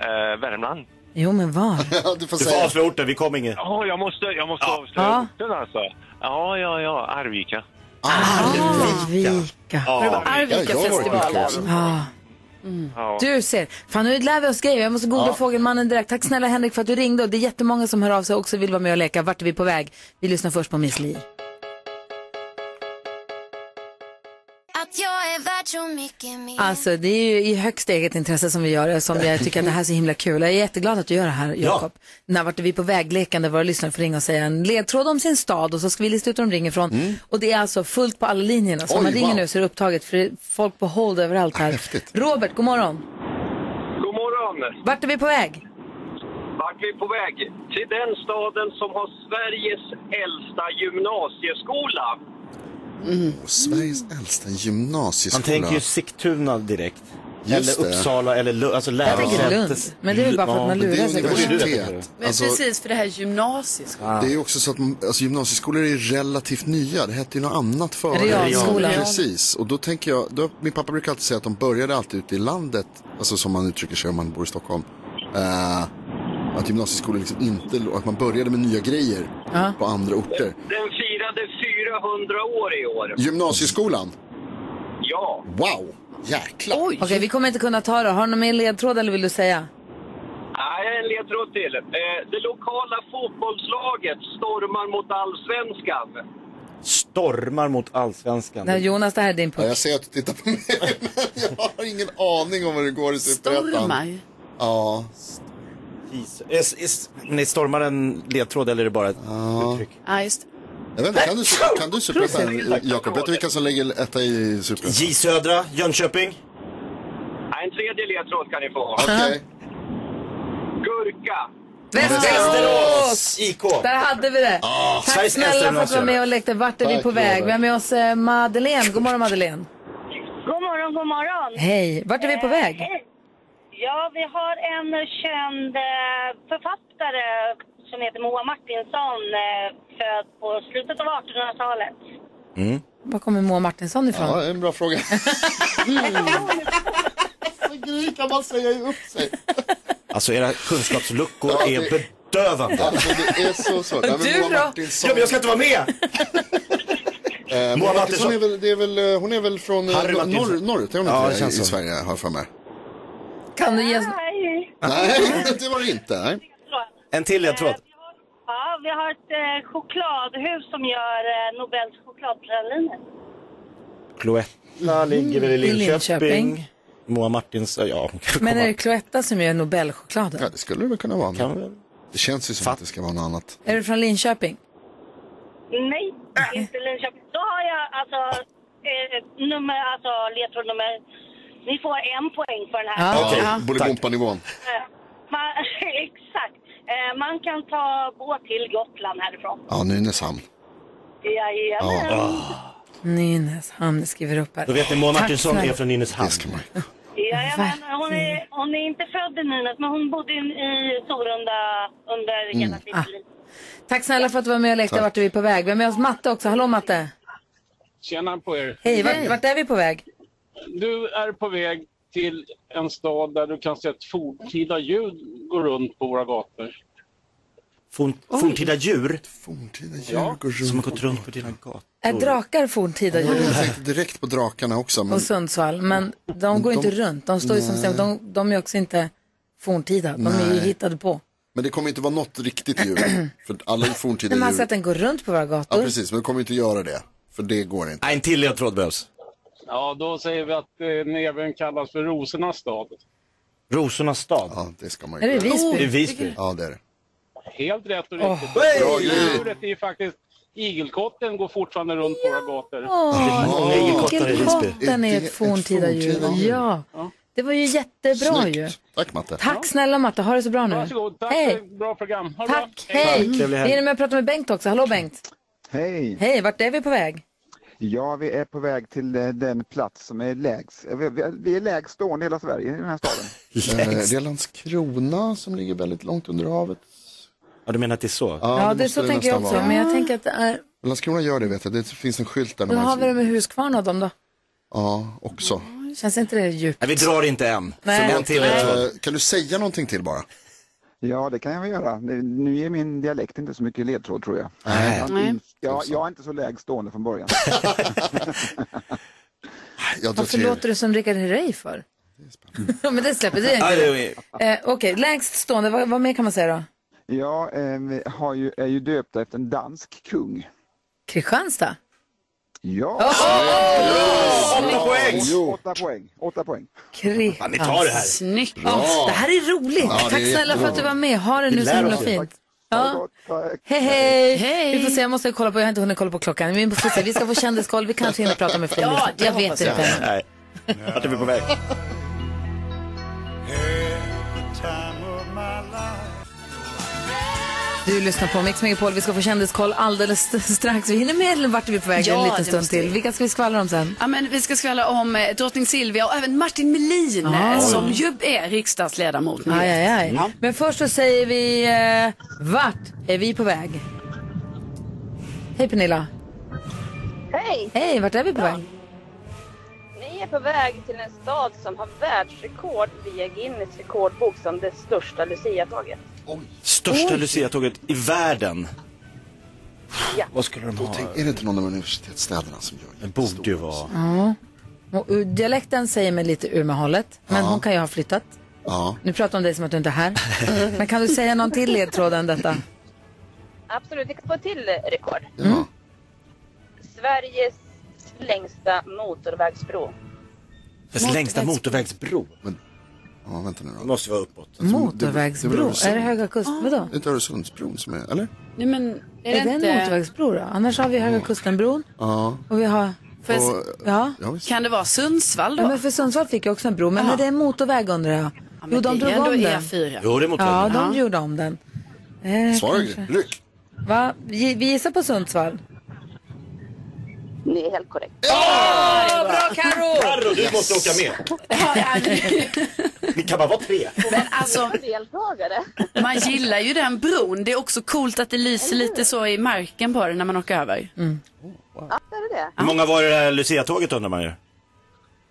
[SPEAKER 12] Eh, Värmland.
[SPEAKER 1] Jo, men var?
[SPEAKER 4] [laughs] du får,
[SPEAKER 2] du får avslöja orten, vi kom ingen.
[SPEAKER 12] Ja, jag måste, jag måste avslöja
[SPEAKER 1] Ja.
[SPEAKER 12] orten alltså. Ja, ja, ja, Arvika.
[SPEAKER 1] Arvika.
[SPEAKER 12] Ja,
[SPEAKER 1] Arvika
[SPEAKER 12] jag har varit
[SPEAKER 1] festival.
[SPEAKER 12] mycket också.
[SPEAKER 1] Ja.
[SPEAKER 12] Ja.
[SPEAKER 1] Mm. Du ser. Fan, nu lär vi oss grejer. Jag måste googla
[SPEAKER 12] Ja.
[SPEAKER 1] Fågelmannen direkt. Tack snälla Henrik för att du ringde. Och det är jättemånga som hör av sig och också vill vara med och leka. Vart är vi på väg? Vi lyssnar först på Miss Li.
[SPEAKER 10] Att jag är värd så mycket mer
[SPEAKER 1] Alltså det är ju i högst eget intresse som vi gör det, som jag tycker att det här är så himla kul. Jag är jätteglad att du gör det här,
[SPEAKER 10] Ja.
[SPEAKER 1] Jakob. När vart är vi på väglekande våra lyssnare får ringa och säga en ledtråd om sin stad och så ska vi lista ut var de ringer ifrån. Och det är alltså fullt på alla linjerna. Så om
[SPEAKER 10] Oj,
[SPEAKER 1] man ringer
[SPEAKER 10] wow.
[SPEAKER 1] nu så är det upptaget för det är folk på hold överallt här. Robert, god morgon.
[SPEAKER 13] God morgon!
[SPEAKER 1] Vart är vi på väg?
[SPEAKER 13] Vart vi på väg? Till den staden som har Sveriges äldsta gymnasieskola.
[SPEAKER 4] Och Sveriges äldsta gymnasieskola.
[SPEAKER 2] Han tänker ju Sigtuna direkt.
[SPEAKER 4] Just
[SPEAKER 2] eller
[SPEAKER 4] det.
[SPEAKER 2] Uppsala eller Lund. Alltså
[SPEAKER 4] Jag tänker
[SPEAKER 2] lärosätes-
[SPEAKER 4] Lund. Men det är väl bara för att
[SPEAKER 2] Ja,
[SPEAKER 4] man
[SPEAKER 2] men
[SPEAKER 4] lurar
[SPEAKER 2] det-
[SPEAKER 4] sig.
[SPEAKER 2] det borde du veta.
[SPEAKER 4] Universitet.
[SPEAKER 5] Men
[SPEAKER 4] Alltså-
[SPEAKER 5] precis, för det här är gymnasiet.
[SPEAKER 4] Det är ju också så att man- alltså, gymnasieskolor är ju relativt nya. Det hette ju något annat förr.
[SPEAKER 5] Realskolan.
[SPEAKER 4] Precis. Och då tänker jag, då, min pappa brukar alltid säga att de började alltid ute i landet, alltså som man uttrycker sig om man bor i Stockholm. Eh, att gymnasieskolor liksom inte, lo- att man började med nya grejer på andra orter.
[SPEAKER 13] Den firade 400 år i år.
[SPEAKER 4] Gymnasieskolan?
[SPEAKER 13] Ja.
[SPEAKER 4] Wow! Jäklar!
[SPEAKER 1] Okej, vi kommer inte kunna ta det. Har du någon mer ledtråd eller vill du säga?
[SPEAKER 13] Nej, en ledtråd till. Eh, det lokala fotbollslaget stormar mot allsvenskan.
[SPEAKER 2] Stormar mot allsvenskan.
[SPEAKER 1] Nej, Jonas, det här är din puck.
[SPEAKER 4] jag ser att du tittar på mig, [laughs] men jag har ingen aning om hur det går i Superettan. Ja.
[SPEAKER 2] Ni stormar en ledtråd eller är det bara ett uttryck?
[SPEAKER 5] Ja, just det.
[SPEAKER 4] Jag vet inte, kan du, kan du Superettan? Jakob, vet du vilka som lägger etta i Superettan?
[SPEAKER 2] J Södra, Jönköping.
[SPEAKER 13] Nej, en tredje ledtråd kan ni få.
[SPEAKER 4] Okej.
[SPEAKER 13] Gurka.
[SPEAKER 2] Västerås IK.
[SPEAKER 1] Där hade vi det.
[SPEAKER 2] Ah,
[SPEAKER 1] Tack
[SPEAKER 2] Sveriges
[SPEAKER 1] snälla
[SPEAKER 2] äldsta
[SPEAKER 1] för att du var med
[SPEAKER 2] gymnasium.
[SPEAKER 1] och lekte. Vart är vi
[SPEAKER 2] Tack,
[SPEAKER 1] på väg?
[SPEAKER 2] Robert.
[SPEAKER 1] Vi har med oss eh, Madeleine. God morgon Madeleine.
[SPEAKER 14] God morgon, god morgon.
[SPEAKER 1] Hej. Vart är vi på
[SPEAKER 14] Eh,
[SPEAKER 1] väg?
[SPEAKER 14] hej. Ja, vi har en känd eh, författare som heter Moa Martinsson, eh, född på slutet av 1800-talet.
[SPEAKER 1] Var kommer Moa Martinsson ifrån?
[SPEAKER 4] Ja, det är en bra [laughs] fråga. Gry kan man säga ju upp sig.
[SPEAKER 2] Alltså era kunskapsluckor
[SPEAKER 4] Ja,
[SPEAKER 2] är
[SPEAKER 4] det-
[SPEAKER 2] bedövande.
[SPEAKER 4] Alltså, det är så svårt. Nej, men Moa Martinsson-
[SPEAKER 2] Ja, men jag ska inte vara med!
[SPEAKER 4] Eh,
[SPEAKER 2] Moa
[SPEAKER 4] Moa
[SPEAKER 2] Martinsson.
[SPEAKER 4] Martinsson är väl, det är väl, eh, hon är väl från eh,
[SPEAKER 2] Harry
[SPEAKER 4] nor-
[SPEAKER 2] Martinsson.
[SPEAKER 4] norr, norrut, är hon
[SPEAKER 2] Ja,
[SPEAKER 4] inte
[SPEAKER 2] det
[SPEAKER 4] det,
[SPEAKER 2] känns
[SPEAKER 4] i,
[SPEAKER 2] så.
[SPEAKER 4] i Sverige har jag för mig.
[SPEAKER 1] Kan du ge oss...
[SPEAKER 4] Nej, [laughs] det var det inte. Nej.
[SPEAKER 2] En till ledtråd.
[SPEAKER 14] Ja, vi har ett eh, chokladhus som gör eh, Nobels chokladpraliner.
[SPEAKER 2] Cloetta ligger väl i
[SPEAKER 4] Mm,
[SPEAKER 1] I
[SPEAKER 2] Linköping.
[SPEAKER 1] Linköping.
[SPEAKER 2] Moa Martins, ja. hon kan komma.
[SPEAKER 1] Men är det Cloetta som gör Nobelchokladen?
[SPEAKER 4] Ja, det skulle det väl kunna vara. men Det känns ju som att det ska vara något annat.
[SPEAKER 1] Är du från Linköping?
[SPEAKER 14] Nej, inte Linköping. Då har jag alltså, eh, nummer, alltså ledtråd nummer... Ni får en poäng för den här.
[SPEAKER 4] Ja, Bolibompa-nivån.
[SPEAKER 14] Eh, Man, [laughs] exakt. Eh, Man kan ta båt till Gotland härifrån.
[SPEAKER 4] Ja, Nynäshamn.
[SPEAKER 14] Jajamän.
[SPEAKER 1] Nynäshamn skriver upp här.
[SPEAKER 2] Då vet ni Moa
[SPEAKER 1] Tack
[SPEAKER 2] Martinsson
[SPEAKER 1] snälla.
[SPEAKER 2] är från Nynäshamn.
[SPEAKER 14] Jajamän. Hon, är, hon är inte född i Nynäs, men hon bodde i, i Sorunda under hela sitt
[SPEAKER 1] Ah.
[SPEAKER 14] liv.
[SPEAKER 1] Tack snälla för att du var med och lekte.
[SPEAKER 14] Tack.
[SPEAKER 1] Vart är vi på väg? Vi har med oss Matte också. Hallå Matte.
[SPEAKER 15] Tjena på er.
[SPEAKER 1] Hej, vart, vart är vi på väg?
[SPEAKER 15] Du är på väg till en stad där du kan se ett forntida ljud gå runt på våra gator.
[SPEAKER 2] Forn, forntida djur.
[SPEAKER 4] Forntida
[SPEAKER 15] Ja.
[SPEAKER 2] Som har gått runt på dina gator.
[SPEAKER 1] Är drakar forntida djur?
[SPEAKER 4] Jag tänkte direkt på drakarna också. Men
[SPEAKER 1] Och Sundsvall. Men de går ju inte runt. De står ju som
[SPEAKER 4] Nej.
[SPEAKER 1] stämt. De, de är också inte forntida. De är
[SPEAKER 4] Nej.
[SPEAKER 1] ju hittade på.
[SPEAKER 4] Men det kommer inte vara något riktigt
[SPEAKER 1] [clears throat]
[SPEAKER 4] djur. För alla forntida
[SPEAKER 1] Men man har
[SPEAKER 4] djur.
[SPEAKER 1] sett den gå runt på våra
[SPEAKER 4] Ja,
[SPEAKER 1] gator.
[SPEAKER 4] precis. Men det kommer inte göra det. För det går inte.
[SPEAKER 2] Nej, en till ledtråd behövs.
[SPEAKER 15] Ja, då säger vi att eh, den även kallas för Rosornas stad.
[SPEAKER 2] Rosornas stad.
[SPEAKER 4] Ja, det ska man
[SPEAKER 15] ju Är det kunna. Visby?
[SPEAKER 2] Det är Visby.
[SPEAKER 4] Ja, det är det.
[SPEAKER 15] Helt rätt och
[SPEAKER 2] Åh.
[SPEAKER 15] riktigt.
[SPEAKER 2] Hej!
[SPEAKER 15] Och Djuret är ju faktiskt igelkotten går fortfarande runt på våra gator.
[SPEAKER 1] Åh, igelkotten är
[SPEAKER 15] det
[SPEAKER 1] ett forntida djur. Ja, det var ju jättebra
[SPEAKER 15] Snyggt.
[SPEAKER 1] ju.
[SPEAKER 4] Tack Matte.
[SPEAKER 1] Tack snälla Matte, ha det så bra nu.
[SPEAKER 15] Varsågod, tack för
[SPEAKER 1] Hej,
[SPEAKER 15] ett bra program. Ha det bra.
[SPEAKER 1] tack, hej. Vi
[SPEAKER 16] Trevlig helg.
[SPEAKER 1] hinner med att prata med Bengt också. Hallå Bengt.
[SPEAKER 16] Hej!
[SPEAKER 1] Hej, vart är vi på väg?
[SPEAKER 16] Ja, vi är på väg till eh, den plats som är lägst. eh, Vi vi- vi är lägst stående i hela Sverige i den här staden.
[SPEAKER 4] Eh, Det är Landskrona som ligger väldigt långt under havet.
[SPEAKER 2] Ja, du menar att det är så?
[SPEAKER 1] Ja, det så tänker jag också. Men jag tänker att det är...
[SPEAKER 4] Landskrona gör det vet jag. Det finns en skylt där.
[SPEAKER 1] Då
[SPEAKER 4] när man-
[SPEAKER 1] har vi det med Huskvarna och dem då.
[SPEAKER 4] Ja, också.
[SPEAKER 1] Känns inte det djupt?
[SPEAKER 2] Nej, vi drar inte än.
[SPEAKER 1] Nej. en till ledtråd.
[SPEAKER 4] Eh, Kan du säga någonting till bara?
[SPEAKER 16] Ja, det kan jag väl göra. Nu- Nu ger min dialekt inte så mycket ledtråd tror jag.
[SPEAKER 4] Nej.
[SPEAKER 16] Jag,
[SPEAKER 4] Nej.
[SPEAKER 16] jag, jag är inte så lägst stående från början.
[SPEAKER 4] jag
[SPEAKER 1] Varför låter du som Rickard Herrey för? Ja, [laughs] men det släpper du
[SPEAKER 2] Ja, det är-
[SPEAKER 1] inte. Eh, Okej, lägst stående, vad, vad mer kan man säga då?
[SPEAKER 16] Ja, eh, vi har ju, är ju döpta efter en dansk kung.
[SPEAKER 1] Kristianstad?
[SPEAKER 16] Ja.
[SPEAKER 1] Åtta poäng!
[SPEAKER 16] Åtta poäng. Åtta poäng.
[SPEAKER 1] Kristianstad.
[SPEAKER 16] ni tar det här.
[SPEAKER 1] Snyggt.
[SPEAKER 16] Bra.
[SPEAKER 1] Åh, det här är roligt.
[SPEAKER 16] Ja, det är
[SPEAKER 1] Tack snälla för
[SPEAKER 16] jättebra.
[SPEAKER 1] att du var med. Ha det
[SPEAKER 16] Vi
[SPEAKER 1] nu så
[SPEAKER 16] lär
[SPEAKER 1] himla
[SPEAKER 16] oss.
[SPEAKER 1] fint. Ja.
[SPEAKER 16] eh,
[SPEAKER 1] Hej, hej. Vi får se, jag måste kolla på, jag har inte hunnit kolla på klockan. Vi, får se. vi ska få kändiskoll, vi kanske hinner prata med fler.
[SPEAKER 2] Ja,
[SPEAKER 1] lyssnare.
[SPEAKER 2] det
[SPEAKER 1] jag vet
[SPEAKER 2] hoppas
[SPEAKER 1] inte.
[SPEAKER 2] jag. Nej. Vart är vi på väg?
[SPEAKER 1] Du lyssnar på Mix Megapol, vi ska få kändiskoll alldeles st- strax. Vi hinner med vart är vi på väg
[SPEAKER 5] Ja,
[SPEAKER 1] en
[SPEAKER 5] det
[SPEAKER 1] liten stund
[SPEAKER 5] måste vi.
[SPEAKER 1] till. Vilka ska vi skvallra om sen?
[SPEAKER 5] Ja, men vi ska skvallra om eh, drottning Silvia och även Martin Melin
[SPEAKER 1] Ah.
[SPEAKER 5] eh, som ju är riksdagsledamot Mm. nu.
[SPEAKER 1] Aj, aj, aj.
[SPEAKER 5] Ja.
[SPEAKER 1] Men först så säger vi, eh, vart är vi på väg? Hej Pernilla.
[SPEAKER 17] Hej!
[SPEAKER 1] Hej, vart är vi på väg?
[SPEAKER 17] Vi är på väg till en stad som har världsrekord via Guinness rekordbok som det största Lucia-tåget.
[SPEAKER 2] Största Lucia-tåget i världen.
[SPEAKER 17] Ja.
[SPEAKER 2] Vad skulle de ha?
[SPEAKER 4] Tänk, är det inte någon av universitetsstäderna som gör det? Det
[SPEAKER 2] borde ju vara.
[SPEAKER 1] Ja. Och ur- dialekten säger mig lite Umeåhållet, men hon kan ju ha flyttat.
[SPEAKER 4] Ja.
[SPEAKER 1] Nu pratar jag om dig som att du inte är här.
[SPEAKER 5] [laughs]
[SPEAKER 1] Men kan du säga någon till ledtråd än detta?
[SPEAKER 17] Absolut, vi kan få ett till eh, rekord.
[SPEAKER 1] Mm.
[SPEAKER 17] Sveriges längsta motorvägsbro.
[SPEAKER 2] Dess längsta motorvägsbro.
[SPEAKER 4] Men, ja, vänta nu då. Det
[SPEAKER 2] måste vara uppåt.
[SPEAKER 1] Motorvägsbro? är det Höga Kust?
[SPEAKER 5] Ah.
[SPEAKER 1] Vadå?
[SPEAKER 4] Det är inte Öresundsbron som är, eller?
[SPEAKER 5] Nej, men
[SPEAKER 1] Är det, en motorvägsbro då? Annars har vi Höga Kusten-bron
[SPEAKER 4] Ja.
[SPEAKER 1] och vi har...
[SPEAKER 5] Får jag
[SPEAKER 4] Och-
[SPEAKER 5] se-
[SPEAKER 1] Ja.
[SPEAKER 5] Kan det vara Sundsvall då?
[SPEAKER 1] Nej, men för Sundsvall fick jag också en bro, men
[SPEAKER 5] Ja.
[SPEAKER 1] är det en motorväg undrar jag?
[SPEAKER 5] men
[SPEAKER 1] jo, de
[SPEAKER 5] det är
[SPEAKER 1] drog
[SPEAKER 5] ändå E
[SPEAKER 1] om den.
[SPEAKER 5] E4.
[SPEAKER 2] Jo, det är motorvägen.
[SPEAKER 1] Ja, de
[SPEAKER 2] Ja.
[SPEAKER 1] gjorde om den. Eh,
[SPEAKER 4] Svara
[SPEAKER 1] kanske.
[SPEAKER 4] Ryck!
[SPEAKER 1] Va? Vi vi gissar på Sundsvall.
[SPEAKER 17] Det är helt korrekt.
[SPEAKER 1] Åh, bra Karo!
[SPEAKER 2] Carro, du måste åka med. Ni kan bara vara tre.
[SPEAKER 5] Men alltså, man gillar ju den bron. Det är också coolt att det lyser lite så i marken på den när man åker över.
[SPEAKER 1] Mm.
[SPEAKER 17] Ja, det är det.
[SPEAKER 2] Hur många var det där Lucia-tåget undrar man ju?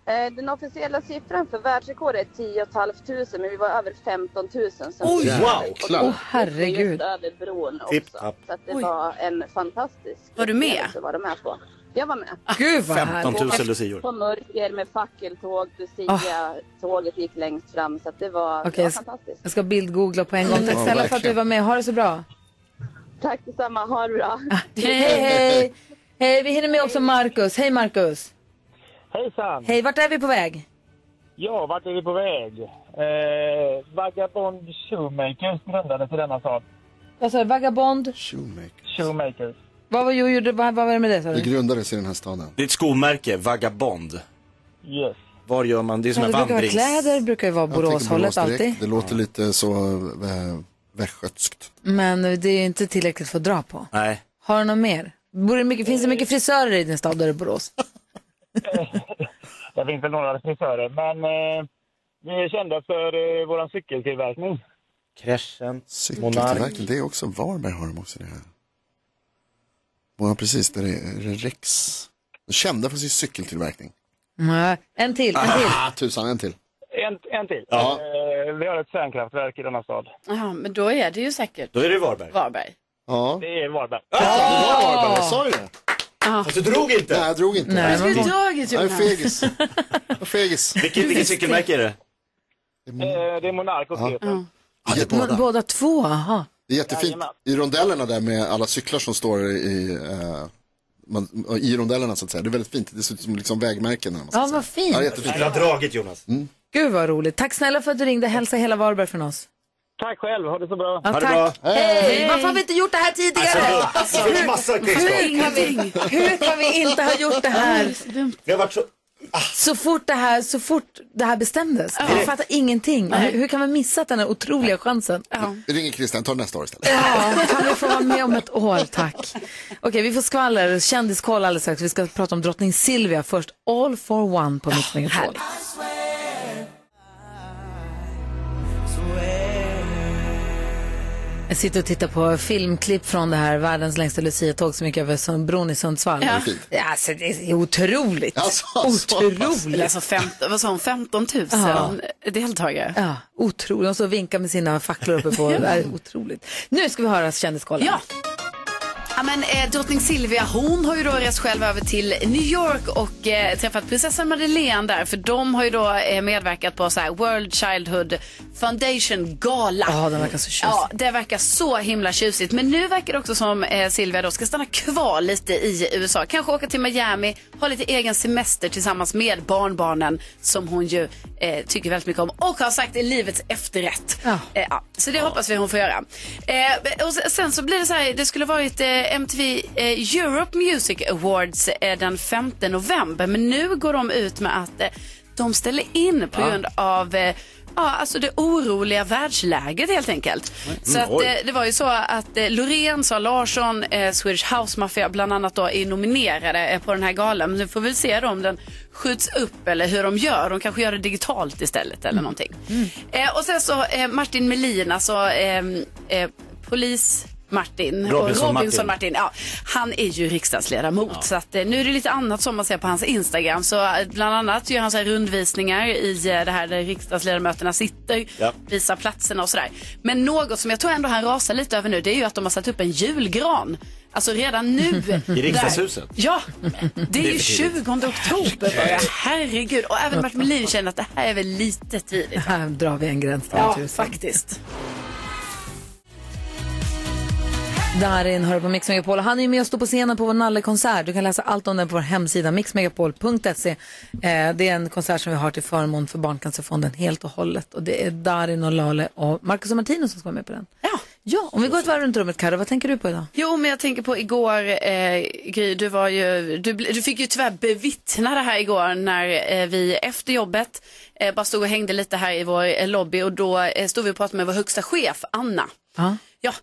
[SPEAKER 17] Eh, Den officiella siffran för världsrekordet är 10 500 men vi var över 15 000. Sen
[SPEAKER 2] Oj, wow! Klar.
[SPEAKER 1] Åh, herregud.
[SPEAKER 17] över bron också.
[SPEAKER 1] Tipp, tapp.
[SPEAKER 17] Så att det var en fantastisk
[SPEAKER 1] Var du med?
[SPEAKER 17] upplevelse att vara med på. Jag var med.
[SPEAKER 1] Gud vad härligt.
[SPEAKER 2] 15 000 lucior.
[SPEAKER 17] På mörker med fackeltåg, Lucia, tåget gick längst fram så att det var, det
[SPEAKER 1] Okej,
[SPEAKER 17] var
[SPEAKER 1] jag s-
[SPEAKER 17] fantastiskt.
[SPEAKER 1] jag ska bildgoogla på en gång. Tack
[SPEAKER 17] Ja,
[SPEAKER 1] snälla för att du
[SPEAKER 17] verkligen.
[SPEAKER 1] var med. Ha det så bra.
[SPEAKER 17] Tack detsamma, ha det bra.
[SPEAKER 1] [laughs] Hej, hej. Hej, vi hinner med också Markus. Hej Markus.
[SPEAKER 18] Hejsan!
[SPEAKER 1] Hej, vart är vi på väg?
[SPEAKER 18] Ja, vart är vi på väg? Eh, Vagabond Shoemakers grundades i denna stad.
[SPEAKER 1] Vad sa du? Vagabond?
[SPEAKER 18] Shoemakers.
[SPEAKER 1] Vad var, jo, gjorde, vad, vad var det med det sa
[SPEAKER 4] Det
[SPEAKER 1] du?
[SPEAKER 4] grundades i den här staden.
[SPEAKER 2] Det är ett skomärke, Vagabond.
[SPEAKER 18] Yes.
[SPEAKER 2] Var gör man? Det är som
[SPEAKER 1] Ja,
[SPEAKER 2] en
[SPEAKER 1] det brukar vara
[SPEAKER 2] vandrings...
[SPEAKER 1] kläder, brukar ju vara
[SPEAKER 4] Jag tänker Borås
[SPEAKER 1] Boråshållet
[SPEAKER 4] direkt.
[SPEAKER 1] alltid.
[SPEAKER 4] Det låter lite så äh, västgötskt.
[SPEAKER 1] Men det är ju inte tillräckligt för att dra på.
[SPEAKER 2] Nej.
[SPEAKER 1] Har du något mer? Bor det mycket, finns det mycket frisörer i din stad där i Borås?
[SPEAKER 18] Det finns väl några frisörer, men eh, vi är kända för eh, vår cykeltillverkning.
[SPEAKER 2] Kraschen,
[SPEAKER 4] Cykeltillverkning, det är också Varberg har de också det här. Ja, precis, där är är det Rex. De är Kända för sin cykeltillverkning.
[SPEAKER 1] Nej, En till, en till.
[SPEAKER 4] Ah, tusan, en till.
[SPEAKER 18] En, en till.
[SPEAKER 4] Ja.
[SPEAKER 18] Eh, vi har ett kärnkraftverk i denna stad.
[SPEAKER 5] Ja, men då är det ju säkert
[SPEAKER 2] Då är det Varberg.
[SPEAKER 5] Varberg.
[SPEAKER 4] Ja.
[SPEAKER 18] Det är Varberg.
[SPEAKER 2] Ah!
[SPEAKER 4] Varberg, jag sa ju det.
[SPEAKER 5] Ja.
[SPEAKER 2] du drog inte?
[SPEAKER 4] Nej, jag drog inte.
[SPEAKER 2] Nej,
[SPEAKER 4] Jag
[SPEAKER 2] men
[SPEAKER 4] drog-
[SPEAKER 2] vad-
[SPEAKER 5] Dragit,
[SPEAKER 4] Jag är
[SPEAKER 5] Jonas.
[SPEAKER 4] fegis. Jag är fegis.
[SPEAKER 2] Vilket, vilket cykelmärke är det?
[SPEAKER 18] Eh, det är Monark och Peter.
[SPEAKER 1] Båda. båda två, aha.
[SPEAKER 4] Det är jättefint. I rondellerna där med alla cyklar som står i, eh, man, i rondellerna så att säga. Det är väldigt fint. Det ser ut som liksom vägmärken. När man
[SPEAKER 1] Ja, vad fint.
[SPEAKER 4] Ja, jättefint.
[SPEAKER 2] Jag har dragit Jonas.
[SPEAKER 1] Gud vad roligt. Tack snälla för att du ringde. Hälsa hela Varberg från oss.
[SPEAKER 18] Tack själv, ha det så bra.
[SPEAKER 1] Ja, tack. Hej. Varför har vi inte gjort det här tidigare?
[SPEAKER 2] Alltså, det är massa kunskap.
[SPEAKER 18] Alltså,
[SPEAKER 1] hur, kan vi, hur kan vi inte ha gjort det här?
[SPEAKER 2] Vi har varit så...
[SPEAKER 1] Så fort det här, så fort det här bestämdes.
[SPEAKER 4] Ja.
[SPEAKER 1] Jag fattar ingenting. Hur, hur kan vi missa den här otroliga chansen?
[SPEAKER 4] Vi ringer Christian, tar nästa år istället.
[SPEAKER 1] Ja, kan vi få vara med om ett år, tack. Okej, vi får skvaller, kändiskoll alldeles strax. Vi ska prata om drottning Silvia först. All for one på Mix Megapol. Jag sitter och tittar på filmklipp från det här världens längsta luciatåg som gick över Sund- bron i Sundsvall.
[SPEAKER 5] Ja. Det är fint.
[SPEAKER 1] Ja. Alltså, det är otroligt.
[SPEAKER 5] Eller
[SPEAKER 1] otroligt.
[SPEAKER 5] Alltså fem, vad sa hon, 15 000
[SPEAKER 1] Ja.
[SPEAKER 5] deltagare?
[SPEAKER 1] Ja, otroligt. De står och vinkar med sina facklor uppe på. Det är otroligt. Nu ska vi höra kändiskollen. Ja.
[SPEAKER 5] Ja, men, eh, drottning Silvia hon har ju då rest själv över till New York och eh, träffat prinsessan Madeleine där för de har ju då eh, medverkat på så här World Childhood Foundation gala.
[SPEAKER 1] Ja, den verkar så tjusig.
[SPEAKER 5] Ja, det verkar så himla tjusigt. Men nu verkar det också som eh, Silvia då ska stanna kvar lite i USA. Kanske åka till Miami, ha lite egen semester tillsammans med barnbarnen som hon ju eh, tycker väldigt mycket om och har sagt är livets efterrätt. Eh, ja. Så det hoppas vi hon får göra. Eh, och se- sen så blir det så här, det skulle varit eh, MTV eh, Europe Music Awards eh, den 5 november. Men nu går de ut med att eh, de ställer in på
[SPEAKER 19] Va?
[SPEAKER 5] grund av eh, Ja, alltså det oroliga världsläget helt enkelt. Så att,
[SPEAKER 19] oj.
[SPEAKER 5] eh, det var ju så att eh, Loreen, Sara Larsson, eh, Swedish House Mafia bland annat då är nominerade eh, på den här galan. Men nu får vi väl se då om den skjuts upp eller hur de gör. De kanske gör det digitalt istället eller någonting. Eh, och sen så eh, Martin Melin, alltså eh, eh, polis Martin
[SPEAKER 19] Robinson
[SPEAKER 5] och Robinson
[SPEAKER 19] Martin.
[SPEAKER 5] Martin. ja, han är ju riksdagsledamot så att, eh, nu är det lite annat som man ser på hans Instagram. Så eh, bland annat gör han så här rundvisningar i eh, det här där riksdagsledamöterna sitter,
[SPEAKER 19] Ja.
[SPEAKER 5] visar platserna och sådär. Men något som jag tror ändå han rasar lite över nu det är ju att de har satt upp en julgran.
[SPEAKER 2] [laughs]
[SPEAKER 5] Alltså redan nu.
[SPEAKER 2] I
[SPEAKER 5] där-
[SPEAKER 2] riksdagshuset?
[SPEAKER 5] Ja, det
[SPEAKER 2] Det
[SPEAKER 5] är
[SPEAKER 2] är
[SPEAKER 5] ju
[SPEAKER 2] för tidigt.
[SPEAKER 5] 20 oktober bara. Herregud. Och även Martin Melin känner att det här är väl lite tidigt.
[SPEAKER 1] Här drar vi en gräns. där,
[SPEAKER 5] Ja,
[SPEAKER 1] tusen.
[SPEAKER 5] faktiskt.
[SPEAKER 1] Darin hör på Mix Megapol. Han är ju med och står på scenen på vår Nallekonsert. Du kan läsa allt om den på vår hemsida mixmegapol.se. Eh, Det är en konsert som vi har till förmån för Barncancerfonden helt och hållet. Och det är Darin och Lale och Marcus och Martino som ska vara med på den.
[SPEAKER 5] Ja.
[SPEAKER 1] Ja, om vi går ett varv runt rummet, Karo, vad tänker du på idag?
[SPEAKER 5] Jo, men jag tänker på igår, eh, Gry, du, var ju, du, bl- du fick ju tyvärr bevittna det här igår när eh, vi efter jobbet eh, bara stod och hängde lite här i vår eh, lobby och då eh, stod vi och pratade med vår högsta chef, Anna.
[SPEAKER 1] Ja.
[SPEAKER 5] Ja,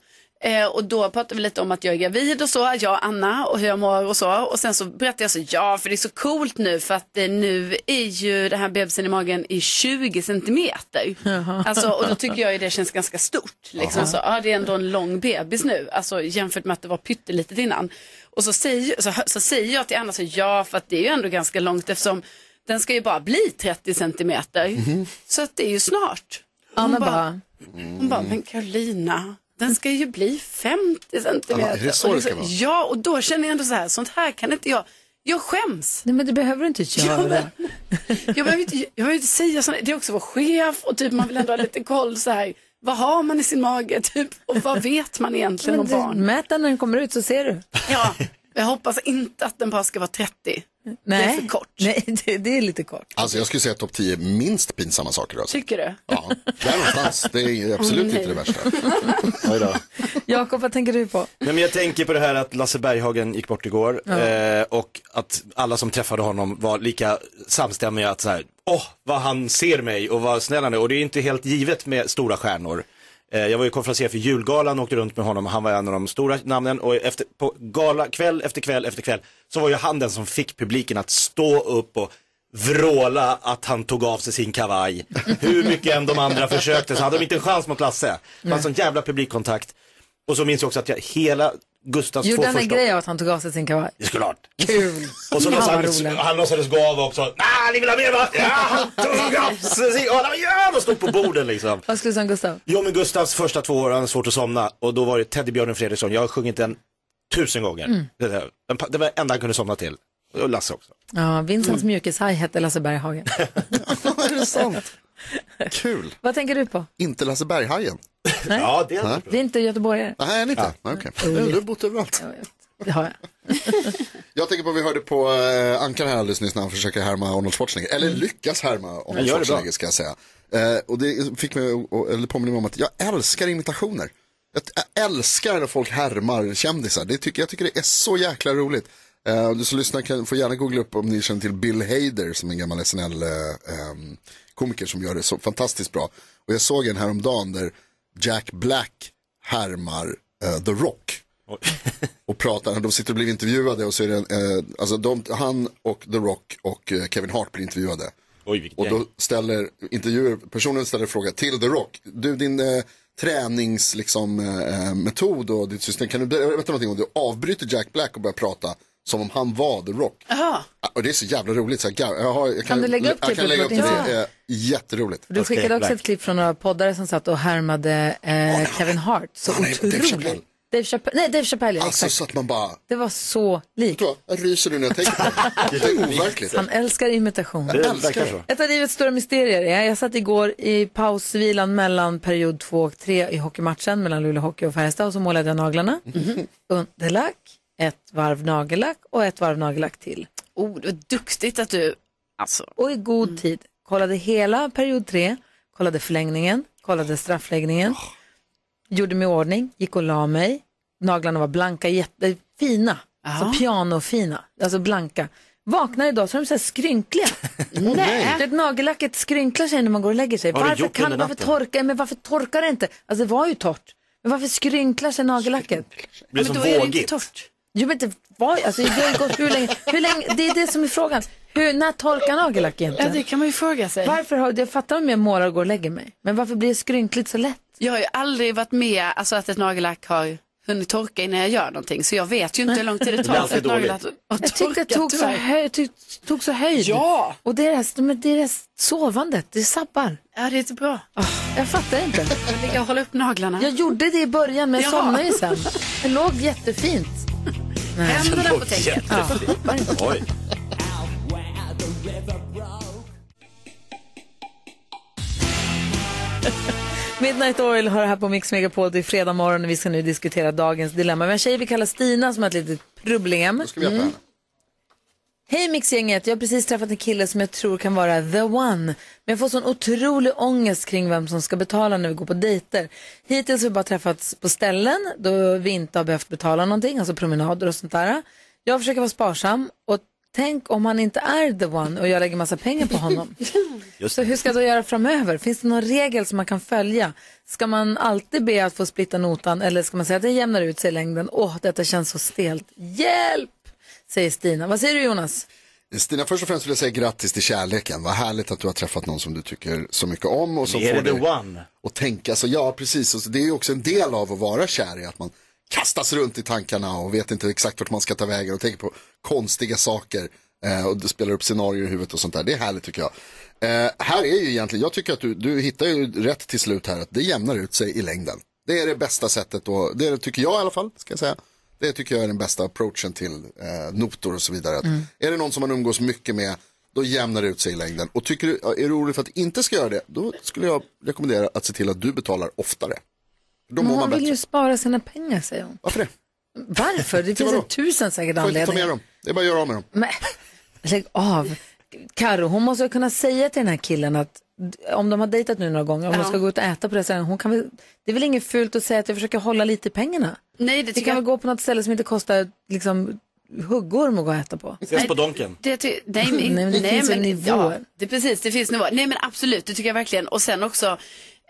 [SPEAKER 5] eh, och då pratade vi lite om att jag är gravid och så, jag och Anna och hur jag mår och så. Och sen så berättade jag så, ja för det är så coolt nu för att eh, nu är ju den här bebisen i magen i 20 centimeter. Alltså, och då tycker jag ju det känns ganska stort. Liksom.
[SPEAKER 19] Aha.
[SPEAKER 5] Så, ja, det är ändå en lång bebis nu, alltså, jämfört med att det var pyttelitet innan. Och så säger, så, så säger jag till Anna, så, ja för att det är ju ändå ganska långt eftersom den ska ju bara bli 30 centimeter. Så att det är ju snart.
[SPEAKER 1] Anna
[SPEAKER 5] Hon
[SPEAKER 1] bara,
[SPEAKER 5] hon bara, men Carolina, den ska ju bli 50 centimeter.
[SPEAKER 1] Ja, är det så
[SPEAKER 5] Och liksom,
[SPEAKER 1] det ska vara?
[SPEAKER 5] Ja, och då känner jag ändå så här, sånt här kan inte jag, jag skäms.
[SPEAKER 1] Nej, men det behöver du inte göra.
[SPEAKER 5] Jag behöver inte, jag behöver inte säga sånt, det är också vår chef och typ man vill ändå ha lite koll så här, vad har man i sin mage typ och vad vet man egentligen
[SPEAKER 1] Men
[SPEAKER 5] om
[SPEAKER 1] du,
[SPEAKER 5] barn?
[SPEAKER 1] Mät den när den kommer ut så ser du.
[SPEAKER 5] Jag hoppas inte att den bara ska vara 30.
[SPEAKER 1] Nej.
[SPEAKER 5] Det är för kort.
[SPEAKER 1] Nej, [laughs] det, det är lite kort.
[SPEAKER 4] Alltså jag skulle säga topp 10 minst pinsamma saker. Alltså.
[SPEAKER 5] Tycker du?
[SPEAKER 4] Ja, där någonstans. Det är absolut
[SPEAKER 1] Åh, nej.
[SPEAKER 4] inte det värsta.
[SPEAKER 2] Oj då.
[SPEAKER 1] Jakob, vad tänker du på?
[SPEAKER 2] Nej, men jag tänker på det här att Lasse Berghagen gick bort igår
[SPEAKER 1] Ja.
[SPEAKER 2] eh, och att alla som träffade honom var lika samstämmiga att så här, åh, vad han ser mig och vad snäll han är. Och det är inte helt givet med stora stjärnor. Eh, jag var ju konferencier för julgalan och åkte runt med honom, han var en av de stora namnen och efter, på gala, kväll efter kväll efter kväll så var ju han den som fick publiken att stå upp och vråla att han tog av sig sin kavaj. Hur mycket än de andra försökte så hade de inte en chans mot Lasse. Det var en sån jävla publikkontakt. Och så minns jag också att jag hela Gustavs två
[SPEAKER 1] Gjorde han en
[SPEAKER 2] första...
[SPEAKER 1] grej av att han tog av sig sin kavaj?
[SPEAKER 2] Det skulle ha varit.
[SPEAKER 1] Kul!
[SPEAKER 2] Och så
[SPEAKER 1] Fan, vad
[SPEAKER 2] låtsades
[SPEAKER 1] roligt.
[SPEAKER 2] han, han låtsades gå av också. Nej, ni vill ha mer va? Ja, han tog av
[SPEAKER 1] [laughs]
[SPEAKER 2] sig sin... Ja, de stod på borden liksom.
[SPEAKER 1] Vad skulle du säga om Gustav?
[SPEAKER 2] Jo men Gustavs första två år han hade svårt att somna och då var det Teddybjörnen Fredriksson. Jag har sjungit den tusen gånger.
[SPEAKER 1] Mm.
[SPEAKER 2] Det, där. Den pa- det var det enda han kunde somna till. Och Lasse också.
[SPEAKER 1] Ja, Vincents mjukis-haj hette Lasse [laughs] Berghagen.
[SPEAKER 4] är det sant? Kul.
[SPEAKER 1] Vad tänker du på?
[SPEAKER 4] Inte Lasse Berghajen.
[SPEAKER 2] Ja, det
[SPEAKER 4] är
[SPEAKER 1] Vi är inte göteborgare.
[SPEAKER 4] Nej, är ni inte? Nej, Okej. Du har bott överallt.
[SPEAKER 1] Det har jag.
[SPEAKER 4] Jag tänker på vad vi hörde på eh, Ankan här alldeles nyss när han försöker härma Arnold Schwarzenegger. Eller lyckas härma
[SPEAKER 2] Han
[SPEAKER 4] Arnold
[SPEAKER 2] Mm. gör det bra.
[SPEAKER 4] Schwarzenegger ska jag säga. Eh, och det fick mig att- att- eller påminna mig om att jag älskar imitationer. Jag t- Jag älskar när folk härmar kändisar. Det tycker, jag tycker det är så jäkla roligt. Eh, och du som lyssnar kan, får gärna googla upp om ni känner till Bill Hader som är en gammal SNL-komiker eh, ehm, som gör det så fantastiskt bra. Och jag såg en häromdagen där Jack Black härmar eh, The Rock [laughs] och pratar. De sitter och blir intervjuade och så är det, en, eh, alltså de, han och The Rock och eh, Kevin Hart blir intervjuade. och då ställer intervjuer, personen ställer fråga till The Rock. Du, din eh, träningsmetod liksom, eh, eh, metod och ditt system, kan du berätta någonting om du avbryter Jack Black och börjar prata som om han var The Rock?
[SPEAKER 5] Jaha.
[SPEAKER 4] Ah, Och det är så jävla roligt. Så jag, gar- jag har, jag kan,
[SPEAKER 1] du lägga upp
[SPEAKER 4] jag
[SPEAKER 1] klippet
[SPEAKER 4] kan lägga upp
[SPEAKER 1] på
[SPEAKER 4] det.
[SPEAKER 1] din
[SPEAKER 4] det
[SPEAKER 1] sida?
[SPEAKER 4] är jätteroligt.
[SPEAKER 1] Du skickade också ett klipp från några poddare som satt och härmade eh, Kevin Hart. Så
[SPEAKER 4] Han är- det är
[SPEAKER 1] otroligt.
[SPEAKER 4] så-
[SPEAKER 1] Dave Chappelle, nej Dave Chappelle ja,
[SPEAKER 4] Alltså
[SPEAKER 1] exakt.
[SPEAKER 4] så att man bara,
[SPEAKER 1] Det var så likt.
[SPEAKER 4] jag ryser nu när jag tänker på det. Det är overkligt.
[SPEAKER 1] Han älskar imitation.
[SPEAKER 4] Jag älskar det.
[SPEAKER 1] Ett av livets stora mysterier är, jag satt igår i pausvilan mellan period 2 och 3 i hockeymatchen mellan Luleå Hockey och Färjestad och så målade jag naglarna.
[SPEAKER 4] Mhm.
[SPEAKER 1] Underlack, ett varv nagellack och ett varv nagellack till.
[SPEAKER 5] Oh, det var duktigt att du... Alltså.
[SPEAKER 1] Och i god tid. Kollade hela period 3, kollade förlängningen, kollade straffläggningen,
[SPEAKER 5] Ah.
[SPEAKER 1] gjorde mig i ordning, gick och la mig. Naglarna var blanka, jättefina.
[SPEAKER 5] Ah.
[SPEAKER 1] Så pianofina, alltså blanka. Vaknar idag så är de så
[SPEAKER 5] [laughs]
[SPEAKER 1] här skrynkliga.
[SPEAKER 5] nej.
[SPEAKER 1] Det nagellacket skrynklar sig när man går och lägger sig.
[SPEAKER 5] Vad har du
[SPEAKER 1] Varför,
[SPEAKER 5] gjort
[SPEAKER 1] kan,
[SPEAKER 5] under
[SPEAKER 1] varför,
[SPEAKER 5] natten?
[SPEAKER 1] torkar, men varför torkar det inte? Alltså det var ju torrt. Men varför skrynklar sig nagellacket?
[SPEAKER 2] blir
[SPEAKER 1] men
[SPEAKER 2] så
[SPEAKER 1] då är det inte
[SPEAKER 2] vågigt.
[SPEAKER 1] torrt. Jo men det var alltså det har ju gått hur länge, hur länge, det är det som är frågan. Hur, när torkar nagellack egentligen?
[SPEAKER 5] Ja, det kan man ju fråga sig.
[SPEAKER 1] Varför har, jag fattar om jag målar och går och lägger mig, men varför blir det skrynkligt så lätt?
[SPEAKER 5] Jag har ju aldrig varit med alltså, att ett nagellack har hunnit torka innan jag gör någonting. Så jag vet ju inte hur lång tid det
[SPEAKER 1] Det blir
[SPEAKER 5] tar för
[SPEAKER 1] alltid
[SPEAKER 5] ett nagellack
[SPEAKER 1] dåligt.
[SPEAKER 5] att
[SPEAKER 1] Jag tyckte
[SPEAKER 5] torka.
[SPEAKER 1] jag tog så,
[SPEAKER 5] tyvärr.
[SPEAKER 1] hö, jag tyck, tog så höjd.
[SPEAKER 5] Ja!
[SPEAKER 1] Och det är det här- men det är det här sovandet, det sabbar.
[SPEAKER 5] Ja, det är inte bra.
[SPEAKER 1] jag fattar inte.
[SPEAKER 5] Jag ligger och håller upp naglarna.
[SPEAKER 1] Jag gjorde det i början men jag
[SPEAKER 5] Jaha.
[SPEAKER 1] somnade ju sen. Det låg jättefint.
[SPEAKER 5] Händerna
[SPEAKER 1] Det
[SPEAKER 5] på
[SPEAKER 1] låg
[SPEAKER 5] täcket.
[SPEAKER 1] jättefint.
[SPEAKER 5] Ja.
[SPEAKER 2] Oj.
[SPEAKER 1] Midnight Oil har det här på Mix Megapol. Det är fredag morgon och vi ska nu diskutera dagens dilemma. Vi har en tjej vi kallar Stina som har ett litet problem.
[SPEAKER 4] Då ska vi hjälpa henne.
[SPEAKER 1] Hej Mixgänget, jag har precis träffat en kille som jag tror kan vara the one. Men jag får sån otrolig ångest kring vem som ska betala när vi går på dejter. Hittills har vi bara träffats på ställen då vi inte har behövt betala någonting, alltså promenader och sånt där. Jag försöker vara sparsam och tänk om han inte är the one och jag lägger massa pengar på honom. Så hur ska jag då göra framöver? Finns det någon regel som man kan följa? Ska man alltid be att få splitta notan eller ska man säga att det jämnar ut sig i längden? Åh, detta känns så stelt. Hjälp! Säger Stina. Vad säger du Jonas?
[SPEAKER 4] Stina, först och främst vill jag säga grattis till kärleken. Vad härligt att du har träffat någon som du tycker så mycket om. Och som
[SPEAKER 2] Är det
[SPEAKER 4] får
[SPEAKER 2] the
[SPEAKER 4] dig
[SPEAKER 2] one?
[SPEAKER 4] Att tänka så, ja precis. Och så Det är ju också en del av att vara kär i att man kastas runt i tankarna och vet inte exakt vart man ska ta vägen och tänker på konstiga saker. eh, Och du spelar upp scenarier i huvudet och sånt där. Det är härligt tycker jag. Eh, här är ju egentligen, jag tycker att du, du hittar ju rätt till slut här att det jämnar ut sig i längden. Det är det bästa sättet och det är det, tycker jag i alla fall, ska jag säga. Det tycker jag är den bästa approachen till eh, notor och så vidare. Att
[SPEAKER 19] Mm.
[SPEAKER 4] Är det någon som man umgås mycket med, då jämnar det ut sig i längden. Och tycker du, är du orolig för att inte ska göra det, då skulle jag rekommendera att se till att du betalar oftare. Då mår
[SPEAKER 1] Men
[SPEAKER 4] man
[SPEAKER 1] hon vill
[SPEAKER 4] bättre.
[SPEAKER 1] ju spara sina pengar säger hon.
[SPEAKER 4] Varför det? [laughs]
[SPEAKER 1] Varför? Det finns
[SPEAKER 4] vadå?
[SPEAKER 1] en tusen säkert
[SPEAKER 4] Får inte ta med
[SPEAKER 1] anledningar.
[SPEAKER 4] dem. Det är bara att göra av med dem.
[SPEAKER 1] Men [laughs] lägg av. Karo, hon måste ju kunna säga till den här killen att om de har dejtat nu några gånger, om de
[SPEAKER 5] Ja.
[SPEAKER 1] ska gå ut och äta på restaurang, hon kan väl, det är väl inget fult att säga att jag försöker hålla lite i pengarna?
[SPEAKER 5] Nej, det
[SPEAKER 1] Vi
[SPEAKER 5] tycker
[SPEAKER 1] kan
[SPEAKER 5] jag
[SPEAKER 1] väl gå på något ställe som inte kostar liksom, huggorm att gå och äta på?
[SPEAKER 2] Ses på Donken.
[SPEAKER 5] Det, ty- nej, men,
[SPEAKER 1] Nej, men det
[SPEAKER 5] nej,
[SPEAKER 1] finns ju
[SPEAKER 5] men-
[SPEAKER 1] nivåer.
[SPEAKER 5] Ja, det, precis, det finns nivåer. Nej men absolut, det tycker jag verkligen. Och sen också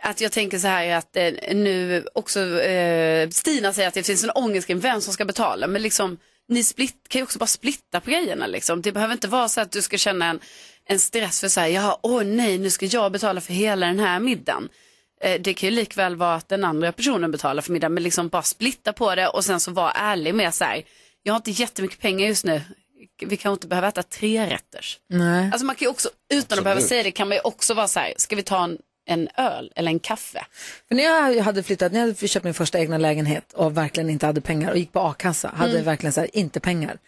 [SPEAKER 5] att jag tänker så här att eh, nu också eh, Stina säger att det finns en ångest kring vem som ska betala. Men liksom, ni split, kan ju också bara splitta på grejerna liksom. Det behöver inte vara så att du ska känna en, en stress för så här, ja, åh nej, nu ska jag betala för hela den här middagen. Eh, Det kan ju likväl vara att den andra personen betalar för middagen, men liksom bara splitta på det och sen så vara ärlig med så här, jag har inte jättemycket pengar just nu, vi kan inte behöva äta tre rätters.
[SPEAKER 1] Nej.
[SPEAKER 5] Alltså man kan ju också, utan att behöva säga det, kan man ju också vara så här, ska vi ta en, en öl eller en kaffe?
[SPEAKER 1] För när jag hade flyttat, när jag hade köpt min första egna lägenhet och verkligen inte hade pengar och gick på a-kassa, hade
[SPEAKER 5] Mm.
[SPEAKER 1] verkligen så här, inte pengar.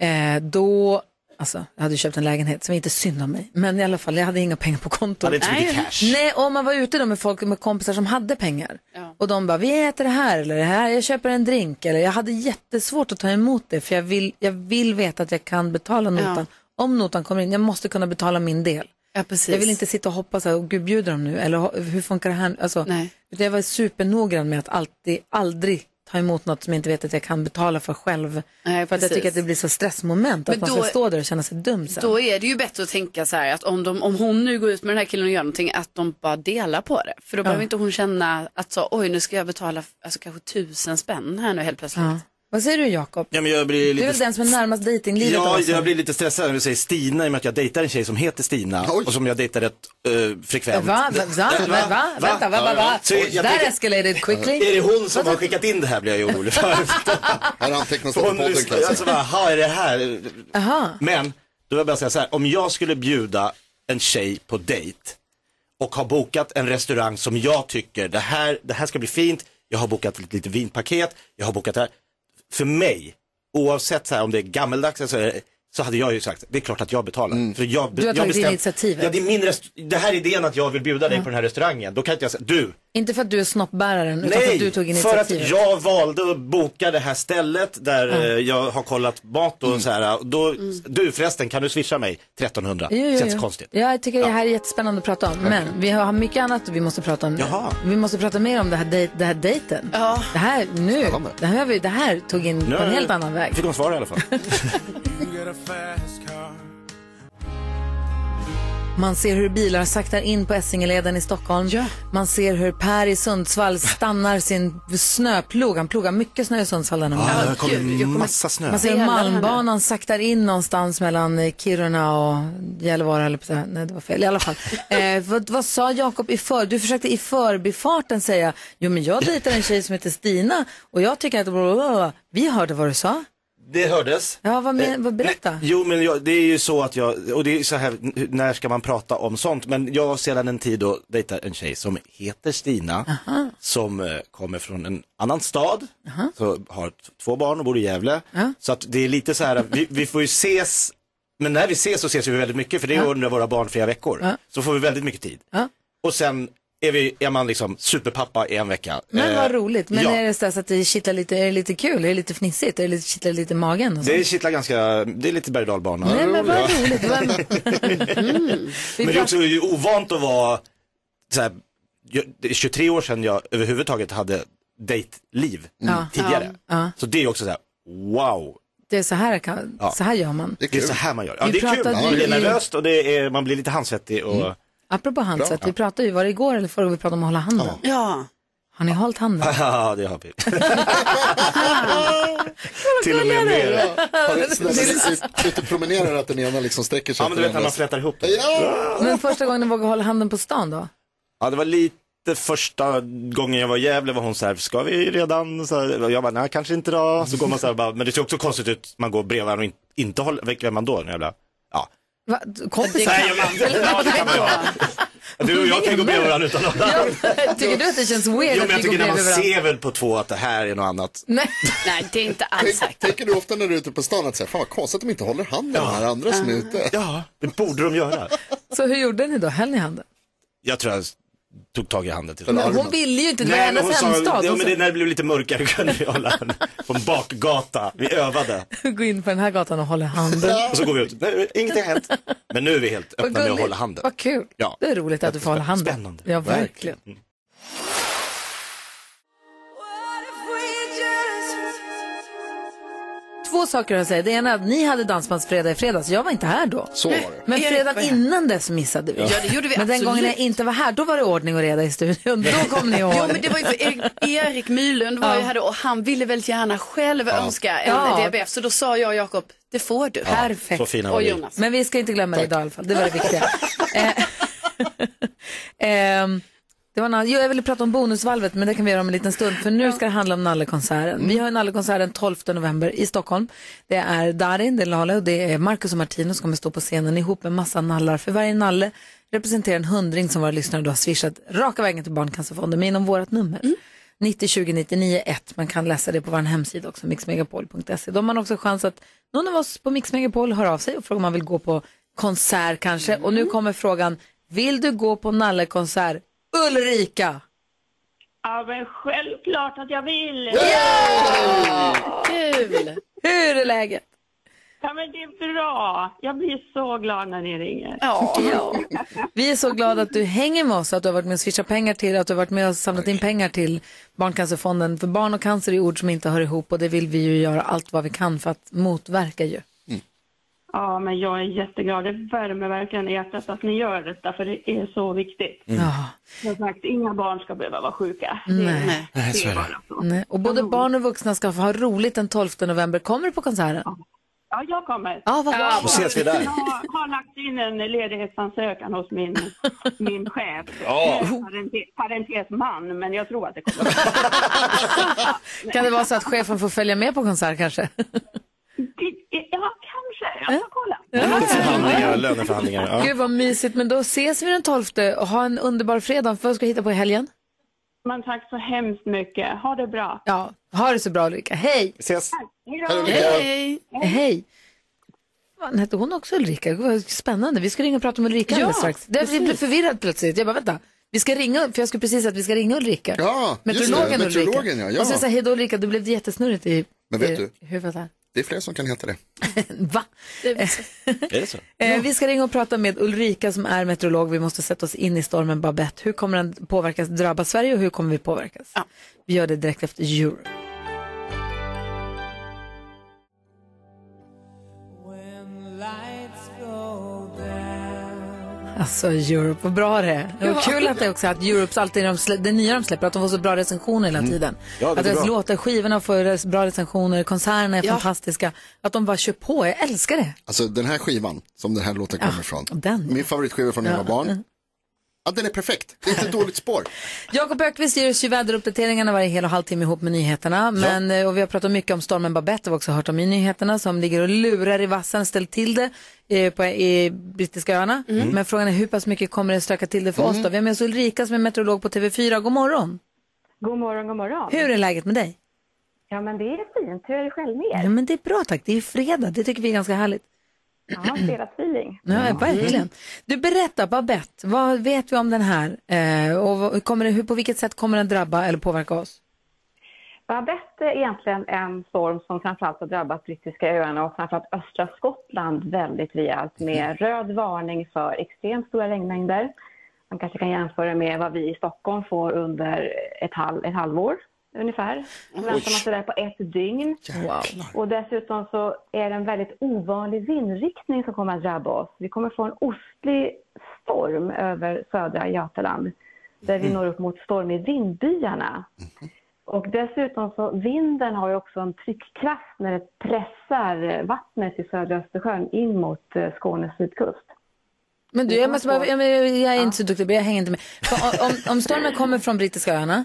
[SPEAKER 1] Eh, då, alltså jag hade ju köpt en lägenhet som inte synd om mig, men i alla fall jag hade inga pengar på kontot.
[SPEAKER 5] Hade inte så mycket Nej. cash.
[SPEAKER 1] Nej, och man var ute då med folk, med kompisar som hade pengar. Och de bara, vi äter det här eller det här, jag köper en drink eller jag hade jättesvårt att ta emot det för jag vill, jag vill veta att jag kan betala notan. Om notan kommer in, jag måste kunna betala min del.
[SPEAKER 5] Ja, precis.
[SPEAKER 1] Jag vill inte sitta och hoppas att gud bjuder de nu eller "Ho- hur funkar det här? nu?" Alltså, utan jag var supernoggrann med att alltid, aldrig ta emot något som jag inte vet att jag kan betala för själv. för att jag
[SPEAKER 5] precis.
[SPEAKER 1] tycker att det blir så stressmoment att
[SPEAKER 5] Men
[SPEAKER 1] man
[SPEAKER 5] då-
[SPEAKER 1] ska stå där och känna sig dum sen.
[SPEAKER 5] Då är det ju bättre att tänka så här att om, de, om hon nu går ut med den här killen och gör någonting, att de bara delar på det. För då
[SPEAKER 1] Ja.
[SPEAKER 5] behöver inte hon känna att så, oj nu ska jag betala alltså, kanske tusen spänn här nu helt plötsligt.
[SPEAKER 1] Ja. Vad säger du Jakob?
[SPEAKER 2] Ja, men jag blir
[SPEAKER 1] Du är
[SPEAKER 2] lite
[SPEAKER 1] väl den som är närmast dejtinglivet alltså. av
[SPEAKER 2] Ja,
[SPEAKER 1] oss?
[SPEAKER 2] jag blir lite stressad när du säger Stina i och med att jag dejtar en tjej som heter Stina och som jag dejtar rätt eh,
[SPEAKER 1] Va?
[SPEAKER 2] frekvent.
[SPEAKER 1] Va? Va? Va? Va? Va? Vänta, va? Va? Va?
[SPEAKER 2] Så jag
[SPEAKER 1] That
[SPEAKER 2] tänker-
[SPEAKER 1] escalated quickly.
[SPEAKER 2] Är det hon som har skickat in det här blir jag ju orolig för.
[SPEAKER 1] [laughs]
[SPEAKER 4] Har antecknat
[SPEAKER 2] För hon lyssnar, alltså bara, "Jaha, är det här?
[SPEAKER 1] Aha.
[SPEAKER 2] Men, då vill jag bara säga så här, om jag skulle bjuda en tjej på dejt och har bokat en restaurang som jag tycker, det här, det här ska bli fint, jag har bokat ett litet vinpaket, jag har bokat det här. För mig, oavsett så här, om det är gammeldags eller så, är det- så hade jag ju sagt, det är klart att jag betalar. För jag,
[SPEAKER 1] Du har
[SPEAKER 2] jag
[SPEAKER 1] tagit
[SPEAKER 2] bestämt-
[SPEAKER 1] initiativet.
[SPEAKER 2] Ja, det, är min rest- det här är idén att jag vill bjuda dig på den här restaurangen. Då kan inte jag säga, du,
[SPEAKER 1] Inte för att du är snoppbäraren, utan för att du tog
[SPEAKER 2] för
[SPEAKER 1] initiativet.
[SPEAKER 2] att jag valde att boka det här stället där
[SPEAKER 1] Ja. Mm.
[SPEAKER 2] eh, jag har kollat mat och så här. Då, Du förresten, kan du swisha mig 1300?
[SPEAKER 1] Jo, jo, jo.
[SPEAKER 2] Känns konstigt.
[SPEAKER 1] Ja, jag tycker det här är jättespännande att prata om. Men vi har mycket annat vi måste prata om.
[SPEAKER 2] Jaha.
[SPEAKER 1] Vi måste prata mer om det här, dej- det här dejten. Ja. Det här nu, det här, har vi- det här tog in på en helt annan väg.
[SPEAKER 2] Fick hon svar i alla fall.
[SPEAKER 1] Man ser hur bilar saktar in på Essingeleden i Stockholm. Man ser hur Per i Sundsvall stannar sin snöplog. Han plogar mycket snö i Sundsvall den här
[SPEAKER 2] Ja,
[SPEAKER 1] morgonen.
[SPEAKER 2] det kommer Gud, jag kommer- massa snö.
[SPEAKER 1] Man ser hur
[SPEAKER 2] Hela den här.
[SPEAKER 1] Alltså, Malmbanan saktar in någonstans mellan eh, Kiruna och Gällivare. höll jag på att säga. Nej, det var fel. I
[SPEAKER 2] [laughs]
[SPEAKER 1] alla fall. eh, vad, vad sa Jakob i för... Du försökte i förbifarten säga, jo men jag dejtar en tjej som heter Stina och jag tycker att... Vi hörde vad du sa.
[SPEAKER 2] Det hördes.
[SPEAKER 1] Ja, vad, men, vad berätta.
[SPEAKER 2] Eh, Jo, men jag, det är ju så att jag, och det är så här, n- när ska man prata om sånt? Men jag har sedan en tid då dejtar en tjej som heter Stina, som eh, kommer från en annan stad, så har t- två barn och bor i Gävle. Så att det är lite så här, vi, vi får ju ses, men när vi ses så ses vi väldigt mycket, för det är under våra barnfria veckor. Så får vi väldigt mycket tid.
[SPEAKER 1] Ja.
[SPEAKER 2] Och sen är, vi, är man liksom superpappa i en vecka.
[SPEAKER 1] Men
[SPEAKER 2] Eh,
[SPEAKER 1] vad roligt. Men
[SPEAKER 2] ja.
[SPEAKER 1] är det så här att det kittlar lite, är det lite kul? Är det lite fnissigt? Är det lite, kittlar lite i magen? Och så?
[SPEAKER 2] Det kittlar ganska, det är lite berg och dalbana.
[SPEAKER 1] Nej, men vad
[SPEAKER 2] Ja.
[SPEAKER 1] roligt.
[SPEAKER 2] [laughs]
[SPEAKER 1] Vad-
[SPEAKER 2] Mm. Men det är också ju ovant att vara så här, jag- det är 23 år sedan jag överhuvudtaget hade dejtliv
[SPEAKER 1] Mm. Ja.
[SPEAKER 2] tidigare.
[SPEAKER 1] Ja. Ja.
[SPEAKER 2] Så det är också så här, wow.
[SPEAKER 1] Det är så här, kan,
[SPEAKER 2] Ja.
[SPEAKER 1] så här gör man.
[SPEAKER 2] Det är, så här man gör. Ja,
[SPEAKER 1] Vi
[SPEAKER 2] det är kul,
[SPEAKER 1] pratade
[SPEAKER 2] man blir
[SPEAKER 1] ju-
[SPEAKER 2] nervöst och det är, man blir lite handsvettig och
[SPEAKER 1] Apropå handset,
[SPEAKER 2] Bra.
[SPEAKER 1] vi pratade ju, var det igår eller förra vi pratade om att hålla handen?
[SPEAKER 5] Ja.
[SPEAKER 1] Har ni hållit handen?
[SPEAKER 2] [laughs] ja, det har vi. Till och med mer.
[SPEAKER 4] Har du- när du är ute och promenerar att den ena liksom sträcker sig
[SPEAKER 2] Ja, men du
[SPEAKER 4] efter
[SPEAKER 2] vet
[SPEAKER 4] den
[SPEAKER 2] när man
[SPEAKER 4] andra.
[SPEAKER 2] flätar ihop.
[SPEAKER 1] Men första gången ni vågade hålla handen på stan då?
[SPEAKER 2] Ja, det var lite första gången jag var i Gävle var hon så här, ska vi redan? Så här, och jag bara, nej kanske inte då. Så går man så här, bara, men det ser också konstigt ut, man går bredvid varandra och in, inte håller, vem är man då? En jävla, ja.
[SPEAKER 1] Va? Kompisar?
[SPEAKER 2] Nej, jag vet inte. Ja, det kan man göra. Du och jag kan gå bredvid varandra utan att
[SPEAKER 1] Ja, [laughs] Tycker du att det känns weird
[SPEAKER 2] Jo,
[SPEAKER 1] att
[SPEAKER 2] men jag
[SPEAKER 1] vi går
[SPEAKER 2] tycker när man
[SPEAKER 1] bredvid varandra?
[SPEAKER 2] ser väl på två att det här är något annat.
[SPEAKER 1] Nej.
[SPEAKER 5] Nej, det är inte alls
[SPEAKER 4] Tänk- Tänker du ofta när du är ute på stan att säga, fan vad konstigt att de inte håller handen de här andra som är ute.
[SPEAKER 2] Ja, det borde de göra.
[SPEAKER 1] Så hur gjorde ni då? Höll ni handen?
[SPEAKER 2] Jag tror jag tog tag i handen till
[SPEAKER 1] Men hon ville ju inte, det var
[SPEAKER 2] Nej, men
[SPEAKER 1] hennes
[SPEAKER 2] hon sa-
[SPEAKER 1] hemstad.
[SPEAKER 2] Ja,
[SPEAKER 1] Hon
[SPEAKER 2] men det, när det blev lite mörkare kunde vi hålla handen på en bakgata. Vi övade.
[SPEAKER 1] sa, Gå in på den här gatan och hålla handen.
[SPEAKER 2] Och så går vi ut. Nej, ingenting har hänt. Men nu är vi helt
[SPEAKER 1] Vad
[SPEAKER 2] öppna med att
[SPEAKER 1] gulligt.
[SPEAKER 2] hålla handen.
[SPEAKER 1] Vad kul.
[SPEAKER 2] Ja.
[SPEAKER 1] Det är roligt att du får hålla handen.
[SPEAKER 2] Spännande.
[SPEAKER 1] Ja, verkligen. Två saker att säga. Det ena är att ni hade dansbandsfredag i fredags. Jag var inte här då.
[SPEAKER 4] Så var det.
[SPEAKER 1] Men
[SPEAKER 5] Erik
[SPEAKER 1] fredagen
[SPEAKER 5] var här.
[SPEAKER 1] innan dess missade vi.
[SPEAKER 5] Ja, det gjorde vi
[SPEAKER 1] Men den
[SPEAKER 5] absolut.
[SPEAKER 1] gången jag inte var här, då var det ordning och reda i studion. Då kom ni ihåg.
[SPEAKER 5] Jo, men det var ju för Erik, Erik Mylund var
[SPEAKER 1] Ja.
[SPEAKER 5] ju här då och han ville väldigt gärna själv önska en
[SPEAKER 1] Ja.
[SPEAKER 5] DBF. Så då sa jag och Jakob, det får du.
[SPEAKER 2] Mm.
[SPEAKER 1] Perfekt.
[SPEAKER 5] Så fina var Och vi. Jonas.
[SPEAKER 1] Men vi ska inte glömma det idag i alla fall. Det var det viktiga. eh, [laughs] ehm, det var en annan- jo, jag ville prata om Bonusvalvet, men det kan vi göra om en liten stund. För nu ska det handla om Nallekonserten. Vi har ju Nallekonserten 12 november i Stockholm. Det är Darin, det är Lale och det är Marcus och Martino som kommer stå på scenen ihop med massa nallar. För varje nalle representerar en hundring som våra lyssnare då har swishat raka vägen till Barncancerfonden, men inom vårt nummer. 90 20 99 1. Man kan läsa det på vår hemsida också, mixmegapol.se. Då har man också chans att någon av oss på Mix Megapol hör av sig och frågar om man vill gå på konsert kanske. Och nu kommer frågan, vill du gå på nallekonsert Ulrika?
[SPEAKER 8] Ja, men självklart att jag vill!
[SPEAKER 5] Kul!
[SPEAKER 1] Hur är läget?
[SPEAKER 8] Ja, men det är bra. Jag blir så glad när ni ringer.
[SPEAKER 1] Vi är så glada att du hänger med oss, att du har varit med och swishat pengar till, att du har varit med och samlat in pengar till Barncancerfonden. För barn och cancer är ord som inte hör ihop och det vill vi ju göra allt vad vi kan för att motverka ju.
[SPEAKER 8] Ja, men jag är jätteglad. Det värmer verkligen i hjärtat att ni gör detta, för det är så viktigt.
[SPEAKER 1] Ja.
[SPEAKER 8] Som sagt, inga barn ska behöva vara sjuka.
[SPEAKER 1] Nej.
[SPEAKER 8] Det är
[SPEAKER 2] så är det.
[SPEAKER 8] bara så.
[SPEAKER 1] Nej. Och både barn och vuxna ska få ha roligt den 12 november. Kommer du på konserten?
[SPEAKER 8] Ja, jag kommer.
[SPEAKER 1] Ja, vad bra. Då ses vi där.
[SPEAKER 8] Jag har lagt in en ledighetsansökan hos min, min chef.
[SPEAKER 1] Bra.
[SPEAKER 8] Eh, parentes- Parentes man, men jag tror att det kommer.
[SPEAKER 1] [laughs] Kan det vara så att chefen får följa med på konsert kanske?
[SPEAKER 8] Ja, kanske. Jag ska kolla.
[SPEAKER 2] Förhandlingar, löneförhandlingar. Ja.
[SPEAKER 1] Gud vad mysigt, men då ses vi den 12 och ha en underbar fredag. Vad ska du hitta på i helgen?
[SPEAKER 8] Men tack så hemskt mycket. Ha det bra.
[SPEAKER 1] Ja, ha det så bra Ulrika. Hej!
[SPEAKER 2] ses.
[SPEAKER 8] Hej då.
[SPEAKER 1] Hej! Hej. Fan, hette hon också Ulrika? Gud, Vad spännande. Vi ska ringa och prata med Ulrika
[SPEAKER 5] Ja,
[SPEAKER 1] alldeles strax. Det, jag
[SPEAKER 5] precis.
[SPEAKER 1] blev förvirrad plötsligt. Jag bara, vänta. Vi ska ringa, för jag skulle precis säga att vi ska ringa Ulrika.
[SPEAKER 4] Ja, just det.
[SPEAKER 1] Meteorologen Ulrika.
[SPEAKER 4] Meteorologen, ja, ja.
[SPEAKER 1] Och sen sa jag, hej då Ulrika, då blev det jättesnurrigt i
[SPEAKER 4] Men vet
[SPEAKER 1] i
[SPEAKER 4] du?
[SPEAKER 1] huvudet här.
[SPEAKER 4] Det är fler som kan heta det.
[SPEAKER 1] Va?
[SPEAKER 2] Är det så?
[SPEAKER 1] Eh, Vi ska ringa och prata med Ulrika som är meteorolog. Vi måste sätta oss in i stormen Babette. Hur kommer den påverkas, drabba Sverige och hur kommer vi påverkas? Vi gör det direkt efter Euro. Alltså Europe, vad bra det är. Det var
[SPEAKER 20] Ja.
[SPEAKER 1] kul att det också är att Europes alltid, de slä, det nya de släpper, att de får så bra recensioner hela
[SPEAKER 20] Mm.
[SPEAKER 1] tiden.
[SPEAKER 20] Ja, det går
[SPEAKER 1] att deras
[SPEAKER 20] bra.
[SPEAKER 1] låtar, skivorna får res- bra recensioner, konserterna är
[SPEAKER 4] Ja.
[SPEAKER 1] fantastiska. Att de bara kör på, jag älskar det.
[SPEAKER 4] Alltså den här skivan som den här låten kommer ifrån.
[SPEAKER 1] Ah, Den.
[SPEAKER 4] Min favoritskiva från när jag
[SPEAKER 1] Ja.
[SPEAKER 4] var barn. Ja, den är perfekt. Det är
[SPEAKER 1] [laughs]
[SPEAKER 4] inte ett dåligt spår.
[SPEAKER 1] Jakob Ökvist ger oss ju väderuppdateringarna varje hel och halvtimme ihop med nyheterna. Men, eh, Och vi har pratat mycket om stormen Babette, har vi också hört om i nyheterna, som ligger och lurar i vassen, ställt till det eh, på, i brittiska öarna.
[SPEAKER 20] Mm.
[SPEAKER 1] Men frågan är hur pass mycket kommer det stöka till det för oss då? Vi har med oss Ulrika som är meteorolog på TV4. God morgon!
[SPEAKER 19] God morgon, god morgon.
[SPEAKER 1] Hur är läget med dig?
[SPEAKER 19] Ja, men det är fint. Hur är det själv med
[SPEAKER 1] Ja,
[SPEAKER 19] er?
[SPEAKER 1] men det är bra tack, det är ju fredag, det tycker vi är ganska härligt.
[SPEAKER 19] Ja, fredagsfeeling.
[SPEAKER 1] Ja, verkligen.
[SPEAKER 19] Mm.
[SPEAKER 1] Du berätta Babette, vad vet vi om den här eh, och vad, kommer det, hur, på vilket sätt kommer den drabba eller påverka oss?
[SPEAKER 19] Babette är egentligen en storm som framförallt har drabbat brittiska öarna och framförallt östra Skottland väldigt rejält med röd varning för extremt stora regnmängder. Man kanske kan jämföra med vad vi i Stockholm får under ett, halv, ett halvår ungefär. Då väntar man sådär på ett dygn. Och dessutom så är det en väldigt ovanlig vindriktning som kommer att drabba oss. Vi kommer få en ostlig storm över södra Götaland där vi
[SPEAKER 21] Mhm.
[SPEAKER 19] når upp mot storm i vindbyarna. Och dessutom så vinden har ju också en tryckkraft när det pressar eh, vattnet i södra Östersjön in mot eh, Skånes sydkust.
[SPEAKER 1] Men du, jag, måste bara, jag, jag jag är inte så duktig, jag hänger inte med. För om, om stormen kommer från brittiska öarna,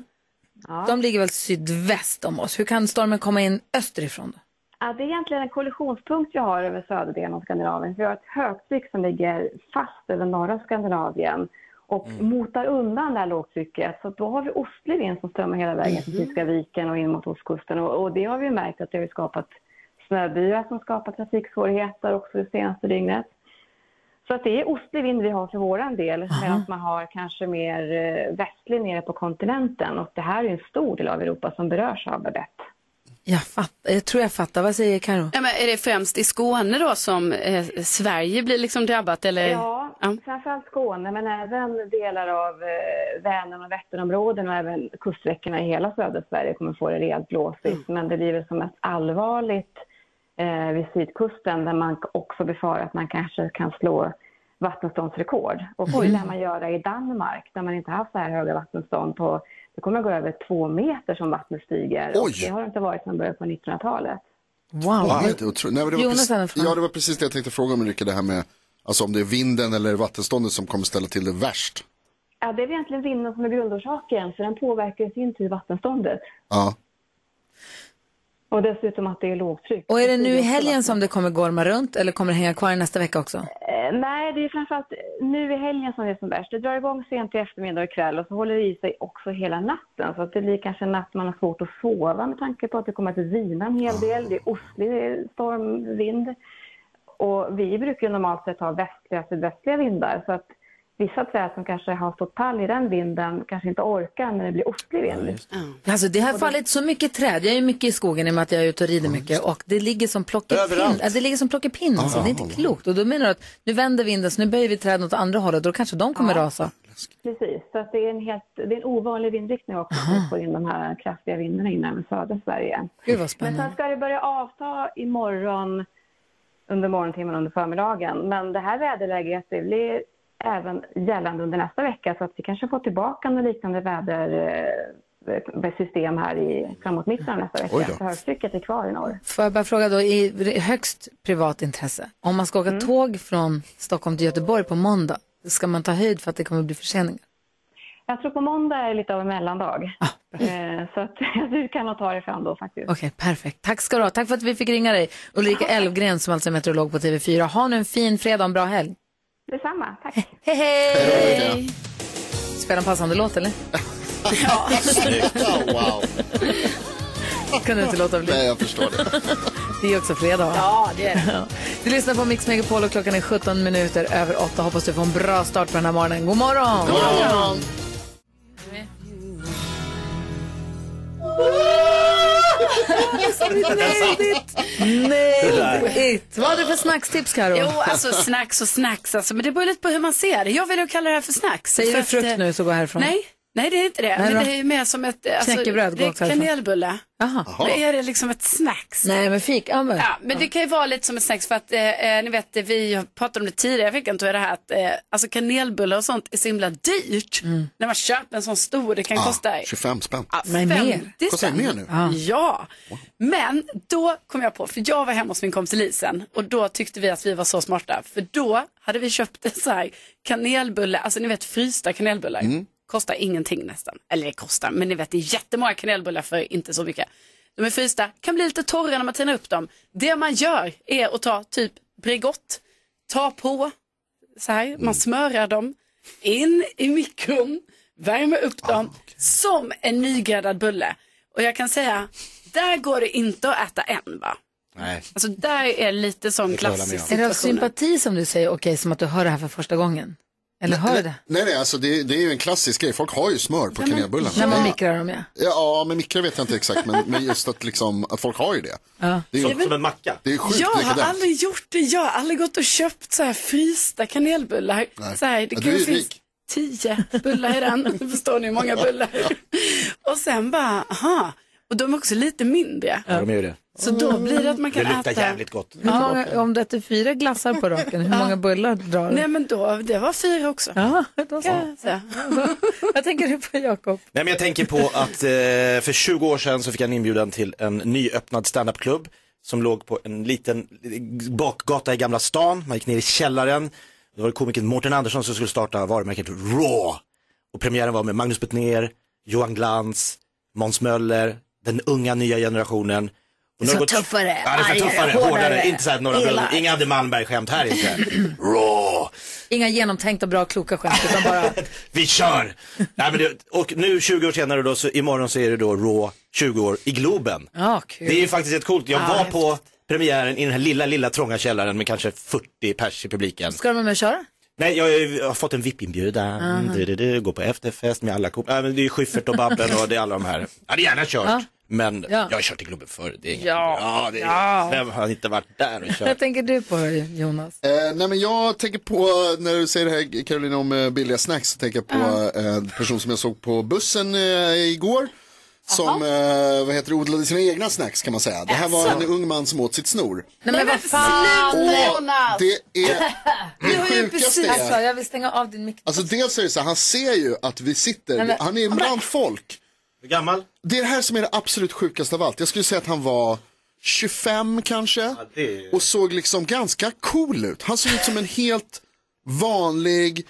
[SPEAKER 1] de ligger väl sydväst om oss. Hur kan stormen komma in österifrån? Då?
[SPEAKER 19] Ja, det är egentligen en kollisionspunkt vi har över söderdelen av Skandinavien. Vi har ett högtryck som ligger fast över norra Skandinavien och motar undan det här lågtrycket. Så då har vi ostlig vind som strömmar hela vägen till
[SPEAKER 21] Mhm.
[SPEAKER 19] Tyska viken och in mot ostkusten. Och, och det har vi ju märkt att det har ju skapat snöbyar som skapar trafiksvårigheter också det senaste dygnet. Så att det är ostlig vind vi har för våran del medan man har kanske mer eh, västlig nere på kontinenten. Och det här är ju en stor del av Europa som berörs av Babette.
[SPEAKER 1] Jag, fattar, jag tror jag fattar, vad säger Karo?
[SPEAKER 5] Ja, men är det främst i Skåne då som eh, Sverige blir liksom drabbat? Eller?
[SPEAKER 19] Ja, framförallt Skåne men även delar av eh, Vänern och Vätternområden och även kuststräckorna i hela södra Sverige kommer få det rejält blåsigt.
[SPEAKER 5] Mm.
[SPEAKER 19] Men det blir väl som mest allvarligt eh, vid sydkusten där man också befarar att man kanske kan slå vattenståndsrekord. Och det
[SPEAKER 5] Mm.
[SPEAKER 19] lär man göra i Danmark där man inte haft så här höga vattenstånd på, det kommer gå över två meter som vattnet stiger. Och
[SPEAKER 4] Oj!
[SPEAKER 19] det har det inte varit sedan början på 1900-talet.
[SPEAKER 4] Ja, det är otro- Nej, men det var
[SPEAKER 19] Jonas
[SPEAKER 4] precis,
[SPEAKER 19] Andersson.
[SPEAKER 4] ja, det var precis det jag tänkte fråga om Ulrika, det här med alltså, om det är vinden eller vattenståndet som kommer ställa till det värst.
[SPEAKER 19] Ja, det är väl egentligen vinden som är grundorsaken, för den påverkar i sin tur vattenståndet.
[SPEAKER 4] Ja.
[SPEAKER 19] Och dessutom att det är lågtryck.
[SPEAKER 1] Och är det nu i helgen som det kommer gorma runt eller kommer det hänga kvar nästa vecka också?
[SPEAKER 19] Eh, nej, det är framförallt nu i helgen som det är som värst. Det drar igång sent i eftermiddag och ikväll och så håller det i sig också hela natten. Så att det blir kanske en natt man har svårt att sova med tanke på att det kommer att vina en hel del. Det är ostlig stormvind. Och vi brukar ju normalt sett ha västliga sydvästliga vindar. Så att vissa träd som kanske har stått pall i den vinden kanske inte orkar när det blir ostlig vind.
[SPEAKER 1] Alltså det har fallit så mycket träd. Jag är ju mycket i skogen i och med att jag är ute och rider mycket. Och det ligger som plockepinn.
[SPEAKER 19] Överallt.
[SPEAKER 1] Ja, det ligger som plockepinn. Alltså.
[SPEAKER 19] Ja.
[SPEAKER 1] Det är
[SPEAKER 4] Ah.
[SPEAKER 1] inte klokt. Och då menar du att nu vänder vinden så nu böjer vi träden åt andra hållet. Då kanske de kommer
[SPEAKER 19] Ja.
[SPEAKER 1] rasa.
[SPEAKER 19] Precis, så att det, är en helt, det är en ovanlig vindriktning också att få in de här kraftiga vindarna in över södra Sverige.
[SPEAKER 1] Gud vad
[SPEAKER 19] Men
[SPEAKER 1] spännande.
[SPEAKER 19] sen ska det börja avta imorgon under morgontimmen under förmiddagen. Men det här väderläget det blir även gällande under nästa vecka så att vi kanske får tillbaka något liknande vädersystem här i, framåt mitten av nästa
[SPEAKER 1] Oj
[SPEAKER 19] vecka.
[SPEAKER 1] då.
[SPEAKER 19] Så högtrycket är kvar i norr.
[SPEAKER 1] Får jag bara fråga då i högst privat intresse. Om man ska åka tåg från Stockholm till Göteborg på måndag. Ska man ta höjd för att det kommer bli förseningar?
[SPEAKER 19] Jag tror på måndag är lite av en mellandag.
[SPEAKER 1] Ah.
[SPEAKER 19] Eh, Så att [laughs] du kan nog ta dig fram då faktiskt.
[SPEAKER 1] Okej, perfekt. Tack ska du ha. Tack för att vi fick ringa dig. Ulrika Elfgren som alltså är meteorolog på TV4. Ha nu en fin fredag och en bra helg.
[SPEAKER 19] Detsamma, tack.
[SPEAKER 1] [laughs] Hej, hej! Spela en passande låt eller? Ja.
[SPEAKER 4] Sluta, [laughs] wow.
[SPEAKER 1] Kunde inte låta bli.
[SPEAKER 4] Nej, jag förstår det.
[SPEAKER 1] Det är också fredag, va?
[SPEAKER 5] Ja, det är det.
[SPEAKER 1] Ja. Du lyssnar på Mix Megapol och klockan är 17 minuter över 8. Hoppas du får en bra start på den här morgonen. God morgon!
[SPEAKER 5] God morgon!
[SPEAKER 1] [laughs] Nailed it! Vad har du för snackstips, Karo?
[SPEAKER 5] Jo, alltså snacks och snacks, alltså, men det beror lite på hur man ser det. Jag vill ju kalla det här för snacks.
[SPEAKER 1] Säger
[SPEAKER 5] för
[SPEAKER 1] du
[SPEAKER 5] att,
[SPEAKER 1] frukt
[SPEAKER 5] eh,
[SPEAKER 1] nu så gå härifrån.
[SPEAKER 5] Nej, nej det är inte det. men
[SPEAKER 1] Nej då.
[SPEAKER 5] det är ju mer som ett... eh, Alltså,
[SPEAKER 1] Knäckebröd
[SPEAKER 5] det
[SPEAKER 1] går
[SPEAKER 5] är
[SPEAKER 1] också härifrån.
[SPEAKER 5] kanelbulle.
[SPEAKER 1] Jaha.
[SPEAKER 5] Men är det liksom ett snacks?
[SPEAKER 1] Nej, men fikambär.
[SPEAKER 5] Ja, men det kan ju vara lite som ett snacks för att eh, eh, ni vet, eh, vi pratade om det tidigare i veckan tror jag det här att eh, alltså kanelbullar och sånt är så himla dyrt.
[SPEAKER 1] Mm.
[SPEAKER 5] När man köper en sån stor, det kan
[SPEAKER 4] Ah,
[SPEAKER 5] kosta
[SPEAKER 4] 25 spänn.
[SPEAKER 5] Ja,
[SPEAKER 4] Men mer.
[SPEAKER 5] 50
[SPEAKER 4] Kostar det mer nu?
[SPEAKER 5] Ja. Men då kom jag på, för jag var hemma hos min kompis Lisen och då tyckte vi att vi var så smarta. För då hade vi köpt en så här kanelbulle, alltså ni vet frysta kanelbullar.
[SPEAKER 4] Mm.
[SPEAKER 5] Kostar ingenting nästan. Eller det kostar, men ni vet det är jättemånga kanelbullar för inte så mycket. De är frysta, kan bli lite torra när man tinar upp dem. Det man gör är att ta typ Bregott, ta på så här,
[SPEAKER 4] Mm.
[SPEAKER 5] man smörar dem in i mikron, värmer upp dem
[SPEAKER 4] Ah,
[SPEAKER 5] som en nygräddad bulle. Och jag kan säga, där går det inte att äta än va?
[SPEAKER 4] Nej.
[SPEAKER 5] Alltså där är lite sån
[SPEAKER 4] Det klarar mig
[SPEAKER 5] klassisk
[SPEAKER 1] Är det av
[SPEAKER 5] situation.
[SPEAKER 1] sympati som du säger, okej, som att du hör det här för första gången? Eller hör du det?
[SPEAKER 4] Nej, nej, alltså det, det är ju en klassisk grej. Folk har ju smör på kanelbullarna.
[SPEAKER 1] När man
[SPEAKER 4] Ja.
[SPEAKER 1] mikrar dem, ja.
[SPEAKER 4] Ja, men mikro vet jag inte exakt, men, men just att, liksom, att folk har ju det.
[SPEAKER 1] Ja.
[SPEAKER 4] det är
[SPEAKER 2] Som- som en macka.
[SPEAKER 4] Det är sjukt
[SPEAKER 5] Jag har
[SPEAKER 4] likadant.
[SPEAKER 5] aldrig gjort det, jag har aldrig gått och köpt så här frysta kanelbullar.
[SPEAKER 4] Nej.
[SPEAKER 5] Så här, det
[SPEAKER 4] Ja, du
[SPEAKER 5] kanske
[SPEAKER 4] är
[SPEAKER 5] finns
[SPEAKER 4] rik.
[SPEAKER 5] tio bullar i den,
[SPEAKER 4] [laughs]
[SPEAKER 5] Nu förstår ni hur många bullar. Och sen bara, aha, och de är också lite mindre.
[SPEAKER 2] Ja, de är ju det.
[SPEAKER 5] Så då blir det att man kan
[SPEAKER 2] det luktar
[SPEAKER 5] äta.
[SPEAKER 2] jävligt gott.
[SPEAKER 1] Hur många, om du äter fyra glassar på raken, hur många bullar drar du?
[SPEAKER 5] Nej men då, det var fyra också.
[SPEAKER 1] [laughs] Ja, då
[SPEAKER 5] Kan jag säga.
[SPEAKER 1] Vad tänker du på, Jakob?
[SPEAKER 2] Nej, men jag tänker på att eh, för 20 år sedan så fick jag en inbjudan till en nyöppnad standupklubb som låg på en liten bakgata i Gamla stan. Man gick ner i källaren. Det var komikern Mårten Andersson som skulle starta varumärket Raw. Och premiären var med Magnus Bettner, Johan Glans, Måns Möller, den unga nya generationen. Och nu har
[SPEAKER 9] Så
[SPEAKER 2] det gått-
[SPEAKER 9] tuffare,
[SPEAKER 2] ja, det är så
[SPEAKER 9] argare,
[SPEAKER 2] tuffare, hårdare.
[SPEAKER 9] hårdare.
[SPEAKER 2] Inte så här några
[SPEAKER 9] Elak.
[SPEAKER 2] bröder, inga Adde Malmberg-skämt här inte. Raw!
[SPEAKER 1] Inga genomtänkta, bra, kloka skämt, utan bara
[SPEAKER 2] Vi kör! Nej, men det, och nu 20 år senare då, så imorgon så är det då Raw 20 år i Globen.
[SPEAKER 1] Ja, kul.
[SPEAKER 2] Det är ju faktiskt rätt coolt. Jag
[SPEAKER 1] Ja,
[SPEAKER 2] var
[SPEAKER 1] häftigt.
[SPEAKER 2] på premiären i den här lilla, lilla trånga källaren med kanske 40 pers i publiken.
[SPEAKER 1] Ska de vara med och köra?
[SPEAKER 2] Nej, jag har ju- har fått en VIP-inbjudan,
[SPEAKER 1] Aha.
[SPEAKER 2] du, du, du, gå på efterfest med alla kom- äh, men Det är ju Schyffert och Babben och det är alla de här. Jag hade gärna kört,
[SPEAKER 1] Ja.
[SPEAKER 2] men
[SPEAKER 1] Ja.
[SPEAKER 2] jag har kört i Globen förr. Det är inget.
[SPEAKER 1] Ja.
[SPEAKER 2] ja, det är...
[SPEAKER 1] Ja.
[SPEAKER 2] Vem har inte varit där
[SPEAKER 1] [laughs]
[SPEAKER 2] och
[SPEAKER 1] Vad
[SPEAKER 2] kört?
[SPEAKER 1] tänker du på, Jonas?
[SPEAKER 4] Eh, nej men jag tänker på, eh, när du säger det här Carolina om eh, billiga snacks, så tänker jag på eh, en person som jag såg på bussen eh, igår. Som eh, vad heter det, odlade sina egna snacks kan man säga. Det här var en ung man som åt sitt snor.
[SPEAKER 1] Nej men vad fan!
[SPEAKER 4] Åh, det
[SPEAKER 1] [laughs]
[SPEAKER 4] är
[SPEAKER 1] Du har ju
[SPEAKER 4] sjukaste
[SPEAKER 1] precis...
[SPEAKER 4] är-
[SPEAKER 1] Alltså, jag vill stänga av din mikrofon.
[SPEAKER 4] Alltså dels är det så här, han ser ju att vi sitter,
[SPEAKER 1] Nej, men-
[SPEAKER 4] han är bland folk.
[SPEAKER 2] Hur gammal?
[SPEAKER 4] Det är det här som är det absolut sjukaste av allt. Jag skulle säga att han var 25 kanske. Och såg liksom ganska cool ut. Han såg ut som en helt vanlig,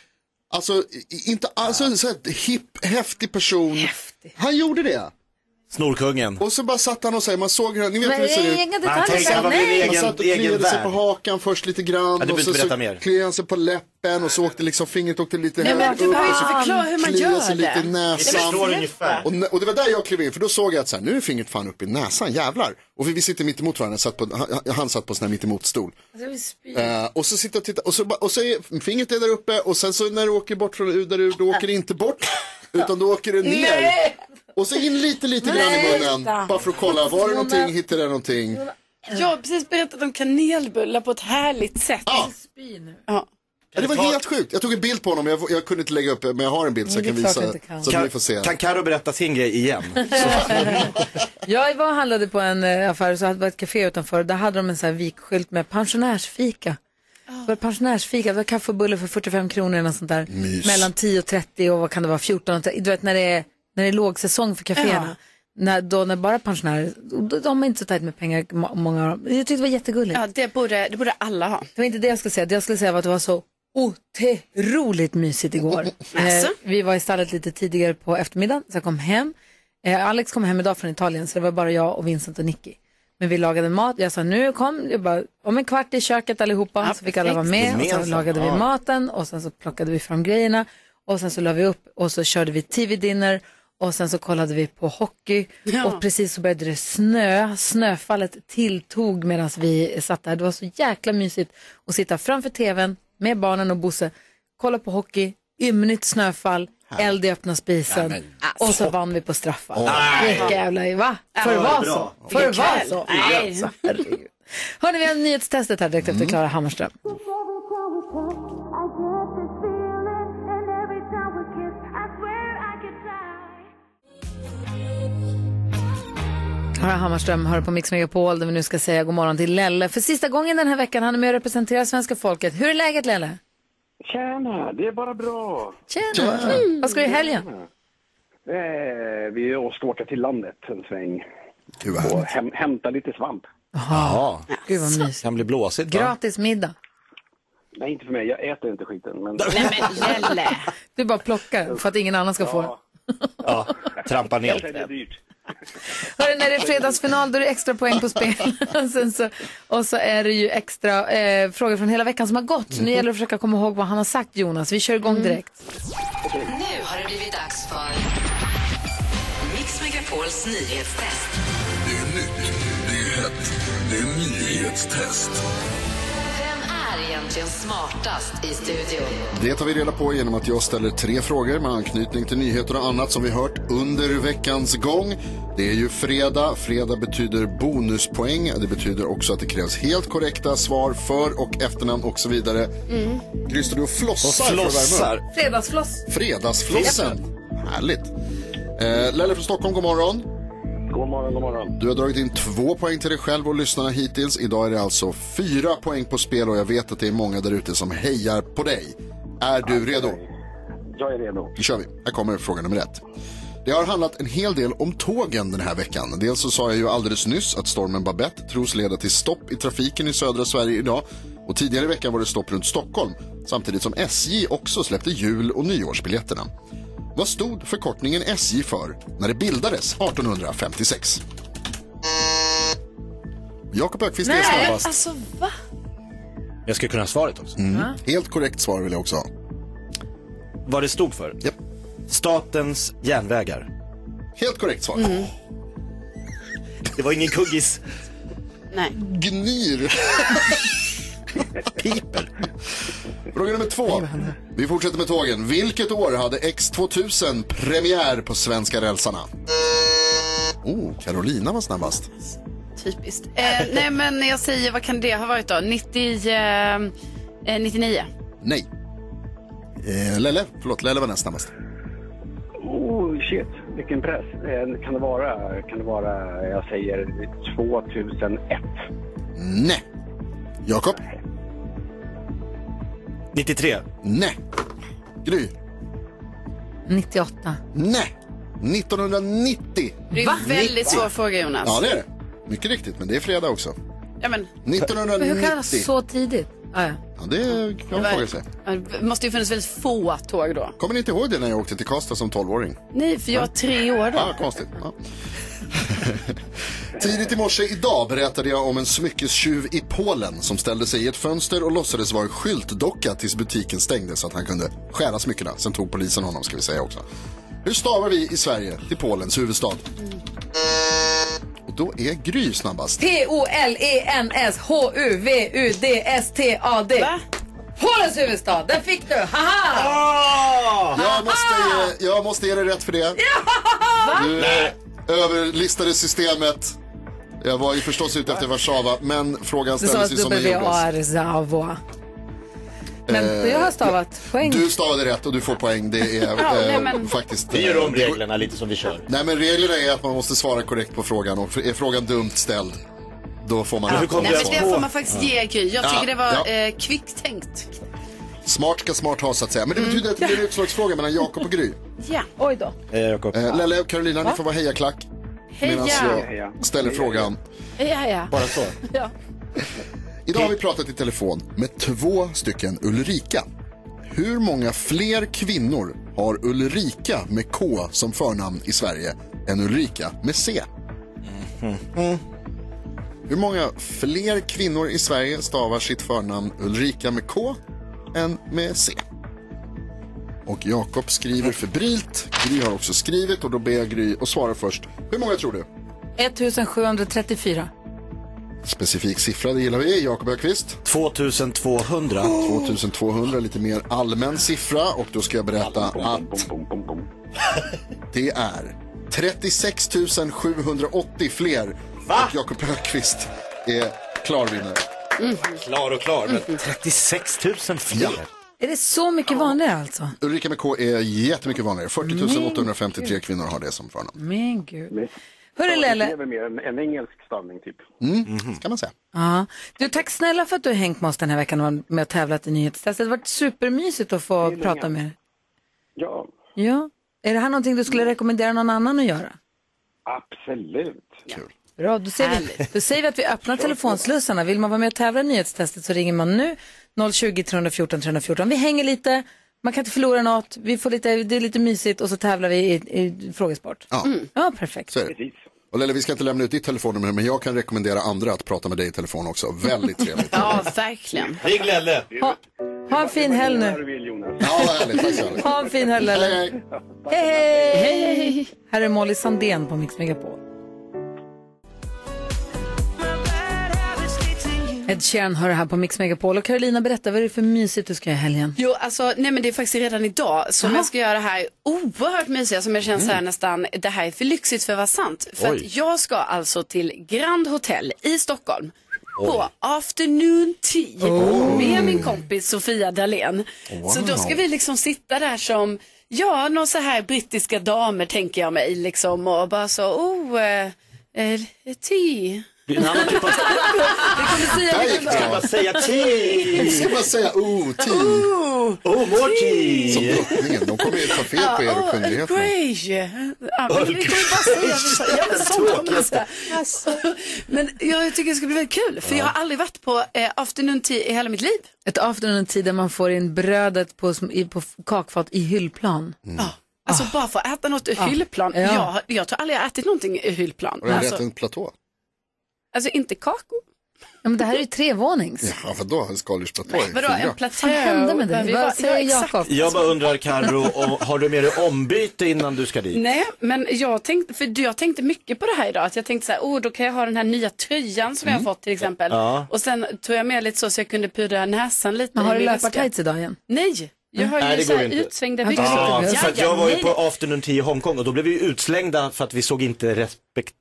[SPEAKER 4] alltså i- inte alls en så här hipp, häftig person. Han gjorde det.
[SPEAKER 2] Snorkungen.
[SPEAKER 4] Och så bara satt han och så här, man såg hur han, ni vet
[SPEAKER 1] Men
[SPEAKER 4] hur det ser
[SPEAKER 1] inga
[SPEAKER 4] ut.
[SPEAKER 1] detaljer, Han tänkte, han var nej. min
[SPEAKER 4] Han
[SPEAKER 1] egen-
[SPEAKER 4] satt och
[SPEAKER 2] egen
[SPEAKER 4] kliade sig
[SPEAKER 2] värld.
[SPEAKER 4] på hakan först lite
[SPEAKER 2] Ja,
[SPEAKER 4] grann.
[SPEAKER 2] du behöver
[SPEAKER 4] och så,
[SPEAKER 2] inte berätta
[SPEAKER 4] så
[SPEAKER 2] mer.
[SPEAKER 4] kliade han sig på läppen och så åkte liksom fingret åkte lite
[SPEAKER 5] Nej, men
[SPEAKER 4] högre
[SPEAKER 5] du
[SPEAKER 4] upp.
[SPEAKER 5] behöver
[SPEAKER 4] och så
[SPEAKER 5] inte förklara hur man
[SPEAKER 4] kliade
[SPEAKER 5] gör
[SPEAKER 4] sig lite
[SPEAKER 5] det.
[SPEAKER 4] i
[SPEAKER 5] Nej, men
[SPEAKER 4] näsan.
[SPEAKER 5] förstår ungefär.
[SPEAKER 4] Och, nä- och det var där jag klev in, för då såg jag att så här, nu är fingret fan upp i näsan, jävlar. Och vi, vi sitter mitt emot varandra, satt på, han, han satt på en sån här mitt emot stol.
[SPEAKER 1] Alltså, jag vill spy.
[SPEAKER 4] Eh, och så sitter jag och tittar, och så, ba- och så är fingret är där uppe och sen så när det åker bort från ur där ur, då åker det inte
[SPEAKER 1] [laughs]
[SPEAKER 4] bort, utan då åker det ner.
[SPEAKER 1] Nej.
[SPEAKER 4] Och så in lite, lite grann i
[SPEAKER 5] Nej.
[SPEAKER 4] munnen, bara för att kolla, var det någonting, hittade jag någonting?
[SPEAKER 5] Jag har precis berättat om kanelbullar på ett härligt sätt. Ja.
[SPEAKER 4] Ja, det var helt sjukt, jag tog en bild på honom, jag, jag kunde inte lägga upp, men jag har en bild så jag
[SPEAKER 1] Nej,
[SPEAKER 4] kan
[SPEAKER 1] det är klart
[SPEAKER 4] visa,
[SPEAKER 1] du inte kan.
[SPEAKER 4] så att ni får se.
[SPEAKER 2] Kan Karo berätta sin grej
[SPEAKER 1] [laughs]
[SPEAKER 2] igen?
[SPEAKER 1] Jag var och handlade på en eh, affär, så hade det var ett café utanför. Där hade de en sån här vikskylt med pensionärsfika. Det var pensionärsfika, det var kaffe och bulle för 45 kronor eller något sånt där.
[SPEAKER 9] Mys.
[SPEAKER 1] Mellan 10 och 30 och vad kan det vara, 14 och 30. Du vet när det är, när det är lågsäsong för kaféerna. När, då när bara pensionärer, då, de är inte så tajt med pengar, må- många av dem. Jag tyckte det var jättegulligt.
[SPEAKER 5] Ja, det borde, det borde alla ha.
[SPEAKER 1] Det var inte det jag skulle säga, det jag skulle säga var att det var så otroligt mysigt igår.
[SPEAKER 5] Alltså?
[SPEAKER 1] Eh, vi var i stallet lite tidigare på eftermiddagen, så jag kom hem. Eh, Alex kom hem idag från Italien, så det var bara jag och Vincent och Nicky. Men vi lagade mat, jag sa nu kom, jag bara, om en kvart i köket allihopa, så fick alla vara med. Och så
[SPEAKER 9] Gemensamt,
[SPEAKER 1] lagade vi
[SPEAKER 9] ja.
[SPEAKER 1] maten och sen så plockade vi fram grejerna och sen så la vi upp och så körde vi tv-dinner Och sen så kollade vi på hockey och precis så började det snöa. Snöfallet tilltog medan vi satt där. Det var så jäkla mysigt att sitta framför tvn med barnen och Bosse, kolla på hockey, ymnigt snöfall, eld i öppna spisen
[SPEAKER 22] Nej,
[SPEAKER 1] och så vann vi på straffar.
[SPEAKER 22] Åh.
[SPEAKER 1] Vilka jävla, va? Får det vara så? Får det vara så?
[SPEAKER 22] Nej.
[SPEAKER 1] Hörni, vi har nyhetstestet här direkt efter Klara Hammarström. Klara Hammarström hör på Mix Megapol där vi nu ska säga god morgon till Lelle. För sista gången den här veckan han är med och representerar svenska folket. Hur är läget Lelle?
[SPEAKER 21] Tjena, det är bara bra.
[SPEAKER 1] Tjena! Mm. Vad ska du i helgen?
[SPEAKER 21] Eh, vi och ska åka till landet en sväng. och häm, hämta lite svamp.
[SPEAKER 2] Jaha.
[SPEAKER 1] Gud vad mysigt.
[SPEAKER 2] Kan bli blåsigt va?
[SPEAKER 1] Gratis middag.
[SPEAKER 21] Nej, inte för mig. Jag äter inte skiten. Men...
[SPEAKER 1] Du bara plockar den för att ingen annan ska få den.
[SPEAKER 2] Ja, trampa
[SPEAKER 21] Kanske
[SPEAKER 2] ner.
[SPEAKER 21] är det dyrt.
[SPEAKER 1] Hörru, när det är fredagsfinal då är det extra poäng på spel. [laughs] Och Sen så, och så är det ju extra eh, frågor från hela veckan som har gått. Så nu gäller det att försöka komma ihåg vad han har sagt Jonas. Vi kör igång direkt.
[SPEAKER 9] Nu har det blivit dags för Mix Megapols nyhetstest.
[SPEAKER 23] Det är nytt, det är hett, det är nyhetstest.
[SPEAKER 9] Vem är egentligen smartast i studion?
[SPEAKER 4] Det tar vi reda på genom att jag ställer tre frågor med anknytning till nyheter och annat som vi hört under veckans gång. Det är ju fredag. Fredag betyder bonuspoäng. Det betyder också att det krävs helt korrekta svar för och efternamn och så vidare.
[SPEAKER 1] Mm.
[SPEAKER 4] Kryster du och flossar? för att
[SPEAKER 1] Och
[SPEAKER 4] värma upp?
[SPEAKER 1] flossar. Fredagsfloss.
[SPEAKER 4] Fredagsflossen. Härligt. Eh, Lelle från Stockholm, god morgon.
[SPEAKER 21] God morgon, god morgon.
[SPEAKER 4] Du har dragit in två poäng till dig själv och lyssnarna hittills. Idag är det alltså fyra poäng på spel och jag vet att det är många där ute som hejar på dig. Är du redo?
[SPEAKER 21] Jag är redo.
[SPEAKER 4] Då kör vi. Här kommer fråga nummer ett. Det har handlat en hel del om tågen den här veckan. Dels så sa jag ju alldeles nyss att stormen Babette tros leda till stopp i trafiken i södra Sverige idag. Och tidigare i veckan var det stopp runt Stockholm, samtidigt som SJ också släppte jul och nyårsbiljetterna. Vad stod förkortningen SJ för när det bildades 1856? Jakob Ökvist är snabbast.
[SPEAKER 1] alltså va?
[SPEAKER 2] Jag skulle kunna ha svaret också.
[SPEAKER 4] Mm.
[SPEAKER 1] Va?
[SPEAKER 4] Helt korrekt svar vill jag också ha.
[SPEAKER 2] Vad det stod för?
[SPEAKER 4] Japp.
[SPEAKER 2] Statens järnvägar.
[SPEAKER 4] Helt korrekt svar.
[SPEAKER 2] Det var ingen kuggis.
[SPEAKER 5] Nej.
[SPEAKER 4] Gnyr. Fråga nummer två. Vi fortsätter med tågen. Vilket år hade X2000 premiär på svenska rälsarna? Oh, Carolina var snabbast.
[SPEAKER 5] Typiskt. Eh, nej, men jag säger, vad kan det ha varit då? 90, eh, eh, 99?
[SPEAKER 4] Nej. Eh, Lelle, förlåt, Lelle var näst snabbast.
[SPEAKER 21] Oh, shit. Vilken press. Eh, Kan det vara, kan det vara, jag säger 2001?
[SPEAKER 4] Nej. Jakob?
[SPEAKER 2] 93.
[SPEAKER 4] Nej. Gry?
[SPEAKER 1] 98.
[SPEAKER 4] Nej. 1990.
[SPEAKER 5] Det är en väldigt svår fråga, Jonas.
[SPEAKER 4] Ja, det är det. Mycket riktigt, men det är fredag också.
[SPEAKER 5] Ja, Alltså. men,
[SPEAKER 4] 1990.
[SPEAKER 5] Men hur kan han så tidigt? Ah, ja.
[SPEAKER 4] Ja, det kan man fråga sig.
[SPEAKER 5] Ja, Det måste ju funnits väldigt få tåg då.
[SPEAKER 4] Kommer ni inte ihåg det när jag åkte till Karlstad som 12-åring?
[SPEAKER 5] Nej, för jag var tre år då.
[SPEAKER 4] Ja, konstigt. Ja. [laughs] Tidigt i morse idag berättade jag om en smyckestjuv i Polen som ställde sig i ett fönster och låtsades vara en skyltdocka tills butiken stängdes så att han kunde stjäla smyckena. Sen tog polisen honom ska vi säga också. Hur stavar vi i Sverige till Polens huvudstad? Och då är Gry snabbast.
[SPEAKER 1] E P-O-L-E-N-S-H-U-V-U-D-S-T-A-D. Polens huvudstad, den fick du! Haha!
[SPEAKER 4] Jag måste, ge, jag måste ge dig rätt för det. Du överlistade systemet. Jag var ju förstås ute efter Warszawa, men frågan
[SPEAKER 1] Det stavas
[SPEAKER 4] ställdes ju som den gjordes.
[SPEAKER 1] W-A-R-Z-A-V-A. Men jag har stavat poäng.
[SPEAKER 4] Eh, Du stavade rätt och du får poäng. Det är
[SPEAKER 1] [laughs] Ja, nej,
[SPEAKER 4] eh,
[SPEAKER 1] men-
[SPEAKER 4] faktiskt...
[SPEAKER 2] Vi gör om
[SPEAKER 4] det-
[SPEAKER 2] reglerna lite som vi kör.
[SPEAKER 4] Nej, men reglerna är att man måste svara korrekt på frågan och är frågan dumt ställd, då får man
[SPEAKER 2] Men hur
[SPEAKER 4] rätt.
[SPEAKER 2] kom
[SPEAKER 5] Nej, men det får man faktiskt ge Gry. Jag
[SPEAKER 4] Ja,
[SPEAKER 5] tycker det var
[SPEAKER 4] ja.
[SPEAKER 5] eh, kvicktänkt.
[SPEAKER 4] Smart ska smart ha, så att säga.
[SPEAKER 1] Mm.
[SPEAKER 4] Men det betyder att det blir en utslagsfråga mellan Jakob och Gry.
[SPEAKER 5] Ja.
[SPEAKER 1] Oj då.
[SPEAKER 4] Eh, Lelle och Carolina,
[SPEAKER 5] Va?
[SPEAKER 4] ni får vara hejaklack. Medan
[SPEAKER 5] Heja.
[SPEAKER 4] jag ställer frågan.
[SPEAKER 5] Ja, ja.
[SPEAKER 4] Bara så.
[SPEAKER 5] Ja.
[SPEAKER 4] Idag har vi pratat i telefon med två stycken Ulrika. Hur många fler kvinnor har Ulrika med K som förnamn i Sverige än Ulrika med C? Mm. Hur många fler kvinnor i Sverige stavar sitt förnamn Ulrika med K än med C? Och Jakob skriver febrilt. Gry har också skrivit och då ber jag Gry och svarar först. Hur många tror du?
[SPEAKER 1] 1734.
[SPEAKER 4] Specifik siffra, det gillar vi. Jakob Ökvist. 2200. 2200, lite mer allmän siffra. Och då ska jag berätta att [laughs] det är 36 780 fler. Och Jakob Ökvist är klar vinnare.
[SPEAKER 2] Klar och klar, men 36 000 Mm. fler.
[SPEAKER 1] Är det så mycket vanligare alltså?
[SPEAKER 4] Ulrika med K är jättemycket vanligare. 40 853
[SPEAKER 1] Men-
[SPEAKER 4] kvinnor har det som förnamn.
[SPEAKER 1] Min gud. Hörru Lelle,
[SPEAKER 21] Det är mer en, en engelsk stavning typ.
[SPEAKER 4] Mm, kan man säga.
[SPEAKER 1] ja. du, tack snälla för att du har hängt med oss den här veckan och varit med och tävlat i nyhetstestet. Det har varit supermysigt att få prata med dig.
[SPEAKER 21] Ja, Mm.
[SPEAKER 1] Ja. Är det här någonting du skulle rekommendera någon annan att göra?
[SPEAKER 21] absolut.
[SPEAKER 1] Bra, då säger, vi, då säger vi att vi öppnar telefonslussarna. Vill man vara med och tävla i nyhetstestet så ringer man nu 020 314 314. Vi hänger lite, man kan inte förlora något, vi får lite, det är lite mysigt och så tävlar vi i, i frågesport. Mm.
[SPEAKER 4] Ja.
[SPEAKER 1] ja, perfekt.
[SPEAKER 4] Så är det. Och Lelle, vi ska inte lämna ut ditt telefonnummer, men jag kan rekommendera andra att prata med dig i telefon också. Väldigt trevligt.
[SPEAKER 5] Ja, verkligen.
[SPEAKER 2] Ring Lelle!
[SPEAKER 1] Ha, ha en fin helg nu. Ha en fin helg Lelle. Hej, hej. hej. Här är Molly Sandén på Mix Megapol. Ed Sheeran hör det här på Mix Megapol och Carolina berätta vad är det för mysigt du ska göra i helgen?
[SPEAKER 5] Jo, alltså, nej men det är faktiskt redan idag som jag ska göra det här oerhört mysiga som jag känner så här nästan, det här är för lyxigt för att vara sant. För
[SPEAKER 1] Mm. Oj.
[SPEAKER 5] att jag ska alltså till Grand Hotel i Stockholm på
[SPEAKER 1] Oj.
[SPEAKER 5] afternoon tea
[SPEAKER 1] Oh.
[SPEAKER 5] med min kompis Sofia Dalén.
[SPEAKER 1] Wow.
[SPEAKER 5] Så då ska vi liksom sitta där som, ja, någon så här brittiska damer tänker jag mig liksom och bara så, oh, eh, eh, tea.
[SPEAKER 2] Det är en annan typ av...
[SPEAKER 5] Vi kommer säga
[SPEAKER 4] Där
[SPEAKER 5] det
[SPEAKER 4] gick det.
[SPEAKER 2] Ska man säga te?
[SPEAKER 4] Ska man säga oh, te?
[SPEAKER 5] Oh,
[SPEAKER 2] oh more tea!
[SPEAKER 4] Som drottningen, de kommer ju ta fel på er och
[SPEAKER 5] Earl
[SPEAKER 4] kunglighet.
[SPEAKER 5] Grey. Ah, Ja, men vi kan ju bara säga så. Ja,
[SPEAKER 1] [laughs]
[SPEAKER 5] men sånt kommer det säga. Alltså. Men jag tycker det ska bli väldigt kul, för jag har aldrig varit på eh, afternoon tea i hela mitt liv.
[SPEAKER 1] Ett afternoon tea där man får in brödet på, sm- i- på f- kakfat i hyllplan.
[SPEAKER 5] Alltså bara för att äta något ur
[SPEAKER 1] Ah.
[SPEAKER 5] hyllplan.
[SPEAKER 1] Ja.
[SPEAKER 5] Jag, jag tror aldrig jag har ätit någonting ur hyllplan.
[SPEAKER 4] Har den
[SPEAKER 5] Alltså,
[SPEAKER 4] rätt en platå?
[SPEAKER 5] alltså inte kakor.
[SPEAKER 1] Ja, men det här är ju trevånings.
[SPEAKER 4] Ja, vadå? Skaldjursplatå? är
[SPEAKER 5] Vadå,
[SPEAKER 4] fyra.
[SPEAKER 5] en platå?
[SPEAKER 1] Vad hände med dig?
[SPEAKER 5] Vi
[SPEAKER 1] Vad
[SPEAKER 5] var-
[SPEAKER 1] säger
[SPEAKER 5] ja, exakt.
[SPEAKER 1] Jakob?
[SPEAKER 2] Jag bara undrar Carro, om- har du med dig ombyte innan du ska dit?
[SPEAKER 5] Nej, men jag tänkte, för jag tänkte mycket på det här idag. Att jag tänkte så här, oh, då kan jag ha den här nya tröjan som jag har fått till exempel.
[SPEAKER 2] Ja.
[SPEAKER 5] Och sen tog jag med lite så, så jag kunde pudra näsan lite.
[SPEAKER 1] Men
[SPEAKER 5] i
[SPEAKER 1] har du
[SPEAKER 5] min väska.
[SPEAKER 1] löpartights idag igen?
[SPEAKER 5] Nej, jag har
[SPEAKER 2] Nej,
[SPEAKER 5] ju
[SPEAKER 2] det
[SPEAKER 5] så
[SPEAKER 2] går
[SPEAKER 5] här
[SPEAKER 2] ju inte.
[SPEAKER 5] utsvängda
[SPEAKER 1] Vänta,
[SPEAKER 5] byxor.
[SPEAKER 2] Ja, för att jag var ju
[SPEAKER 5] nej, nej.
[SPEAKER 2] på afternoon tea i Hongkong och då blev vi ju utslängda för att vi såg inte respekt...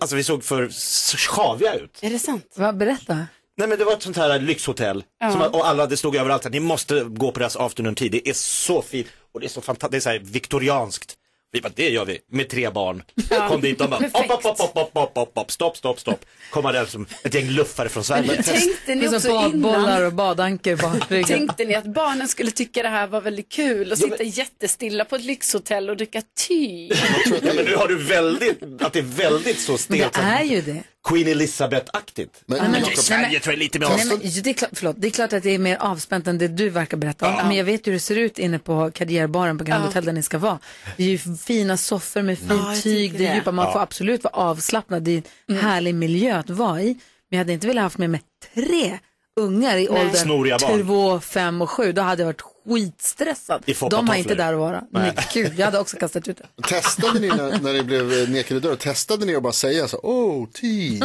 [SPEAKER 2] Alltså vi såg för s- sjaviga ut.
[SPEAKER 5] Är det sant?
[SPEAKER 1] Vad berätta.
[SPEAKER 2] Nej men det var ett sånt här lyxhotell.
[SPEAKER 1] Ja.
[SPEAKER 2] Som, och alla, det stod överallt att ni måste gå på deras afternoon tea. Det är så fint och det är så fantastiskt, det är så här viktorianskt. Vi bara, det gör vi, med tre barn. Kom dit, de bara, hopp, hopp, hopp, hopp, hopp, hopp, hopp, hopp, stopp, stopp, stopp. Komma där som ett gäng luffare från Sverige.
[SPEAKER 5] Tänkte ni
[SPEAKER 1] Med så
[SPEAKER 5] också
[SPEAKER 1] Liksom badbollar
[SPEAKER 5] innan?
[SPEAKER 1] och badanker [laughs] på ryggen.
[SPEAKER 5] Tänkte ni att barnen skulle tycka det här var väldigt kul och sitta jättestilla på ett lyxhotell och dricka ty?
[SPEAKER 2] Ja, men nu har du väldigt, att det är väldigt så
[SPEAKER 1] Det
[SPEAKER 2] stelt. som
[SPEAKER 1] är ju det.
[SPEAKER 2] Queen Elizabeth-aktigt.
[SPEAKER 4] Men,
[SPEAKER 1] men-
[SPEAKER 2] jag,
[SPEAKER 1] nej,
[SPEAKER 2] Sverige
[SPEAKER 1] men-
[SPEAKER 2] tror jag är lite mer
[SPEAKER 1] Nej,
[SPEAKER 5] Alltså-
[SPEAKER 2] avstånd.
[SPEAKER 1] men, det, är klart, förlåt, det är klart att det är mer avspänt än det du verkar berätta om. Men jag vet hur det ser ut inne på karriärbaren på Grand
[SPEAKER 5] Ja.
[SPEAKER 1] Hotel där ni ska vara. Det är ju fina soffor med fint
[SPEAKER 5] Ja, jag
[SPEAKER 1] tyg,
[SPEAKER 5] tycker
[SPEAKER 1] det är
[SPEAKER 5] det.
[SPEAKER 1] djupa. Man
[SPEAKER 5] Ja. Mm.
[SPEAKER 1] får absolut vara avslappnad. Det är en härlig miljö att vara i. Men jag hade inte velat haft med mig tre ungar i
[SPEAKER 5] Nej.
[SPEAKER 2] Snoriga
[SPEAKER 1] åldern
[SPEAKER 2] barn.
[SPEAKER 1] två, fem och sju. Då hade jag varit skitstressad.
[SPEAKER 2] I foppatofflor.
[SPEAKER 1] De har inte där att vara.
[SPEAKER 4] Nej.
[SPEAKER 1] Nej, gud, jag hade också kastat ut det.
[SPEAKER 4] Testade ni när, när det blev eh, nekade dörr, testade ni att bara säga så oh, te?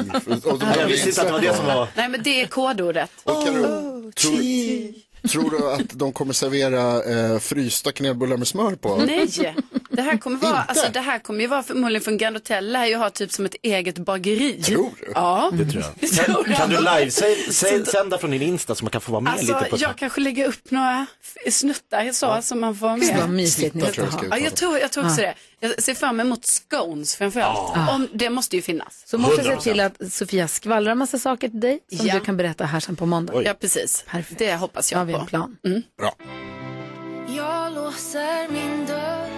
[SPEAKER 4] Och då-
[SPEAKER 2] Jag visste inte att det var det som var...
[SPEAKER 5] Nej, men det är kodordet.
[SPEAKER 4] Och kan du- tror, tror du att de kommer servera eh, frysta kanelbullar med smör på?
[SPEAKER 5] Nej, det här kommer vara, alltså, det här kommer ju vara förmodligen från Grand Hotel, lär ju ha typ som ett eget bageri. Tror
[SPEAKER 4] du?
[SPEAKER 5] Ja.
[SPEAKER 2] Det [laughs] tror jag.
[SPEAKER 5] tror
[SPEAKER 2] Kan,
[SPEAKER 5] jag.
[SPEAKER 2] kan du live-sända från din Insta så man kan få vara med
[SPEAKER 5] Alltså,
[SPEAKER 2] lite på
[SPEAKER 5] jag kanske lägger upp några f- snuttar så, som man får vara med.
[SPEAKER 1] Gud, vad mysigt ni Snittar ska tror jag ha. ska vi
[SPEAKER 5] Ja, jag
[SPEAKER 1] prata.
[SPEAKER 5] tror, jag tror också
[SPEAKER 1] Ja.
[SPEAKER 5] det. Jag ser fram emot scones framförallt.
[SPEAKER 1] Ja.
[SPEAKER 5] Om, det måste ju finnas.
[SPEAKER 1] Så måste jag se till att Sofia skvallrar en massa saker till dig som
[SPEAKER 5] Ja.
[SPEAKER 1] du kan berätta här sen på måndag.
[SPEAKER 5] Ja, precis.
[SPEAKER 1] Perfekt.
[SPEAKER 5] Det hoppas
[SPEAKER 1] Då har
[SPEAKER 5] jag
[SPEAKER 1] vi en
[SPEAKER 5] på.
[SPEAKER 1] plan.
[SPEAKER 10] Jag låser min dörr.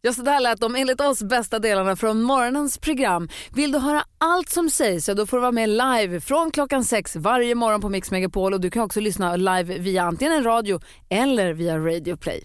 [SPEAKER 22] Ja, så där lät de enligt oss bästa delarna från morgonens program. Vill du höra allt som sägs så då får du vara med live från klockan sex varje morgon på Mix Megapol och du kan också lyssna live via antingen en radio eller via Radio Play.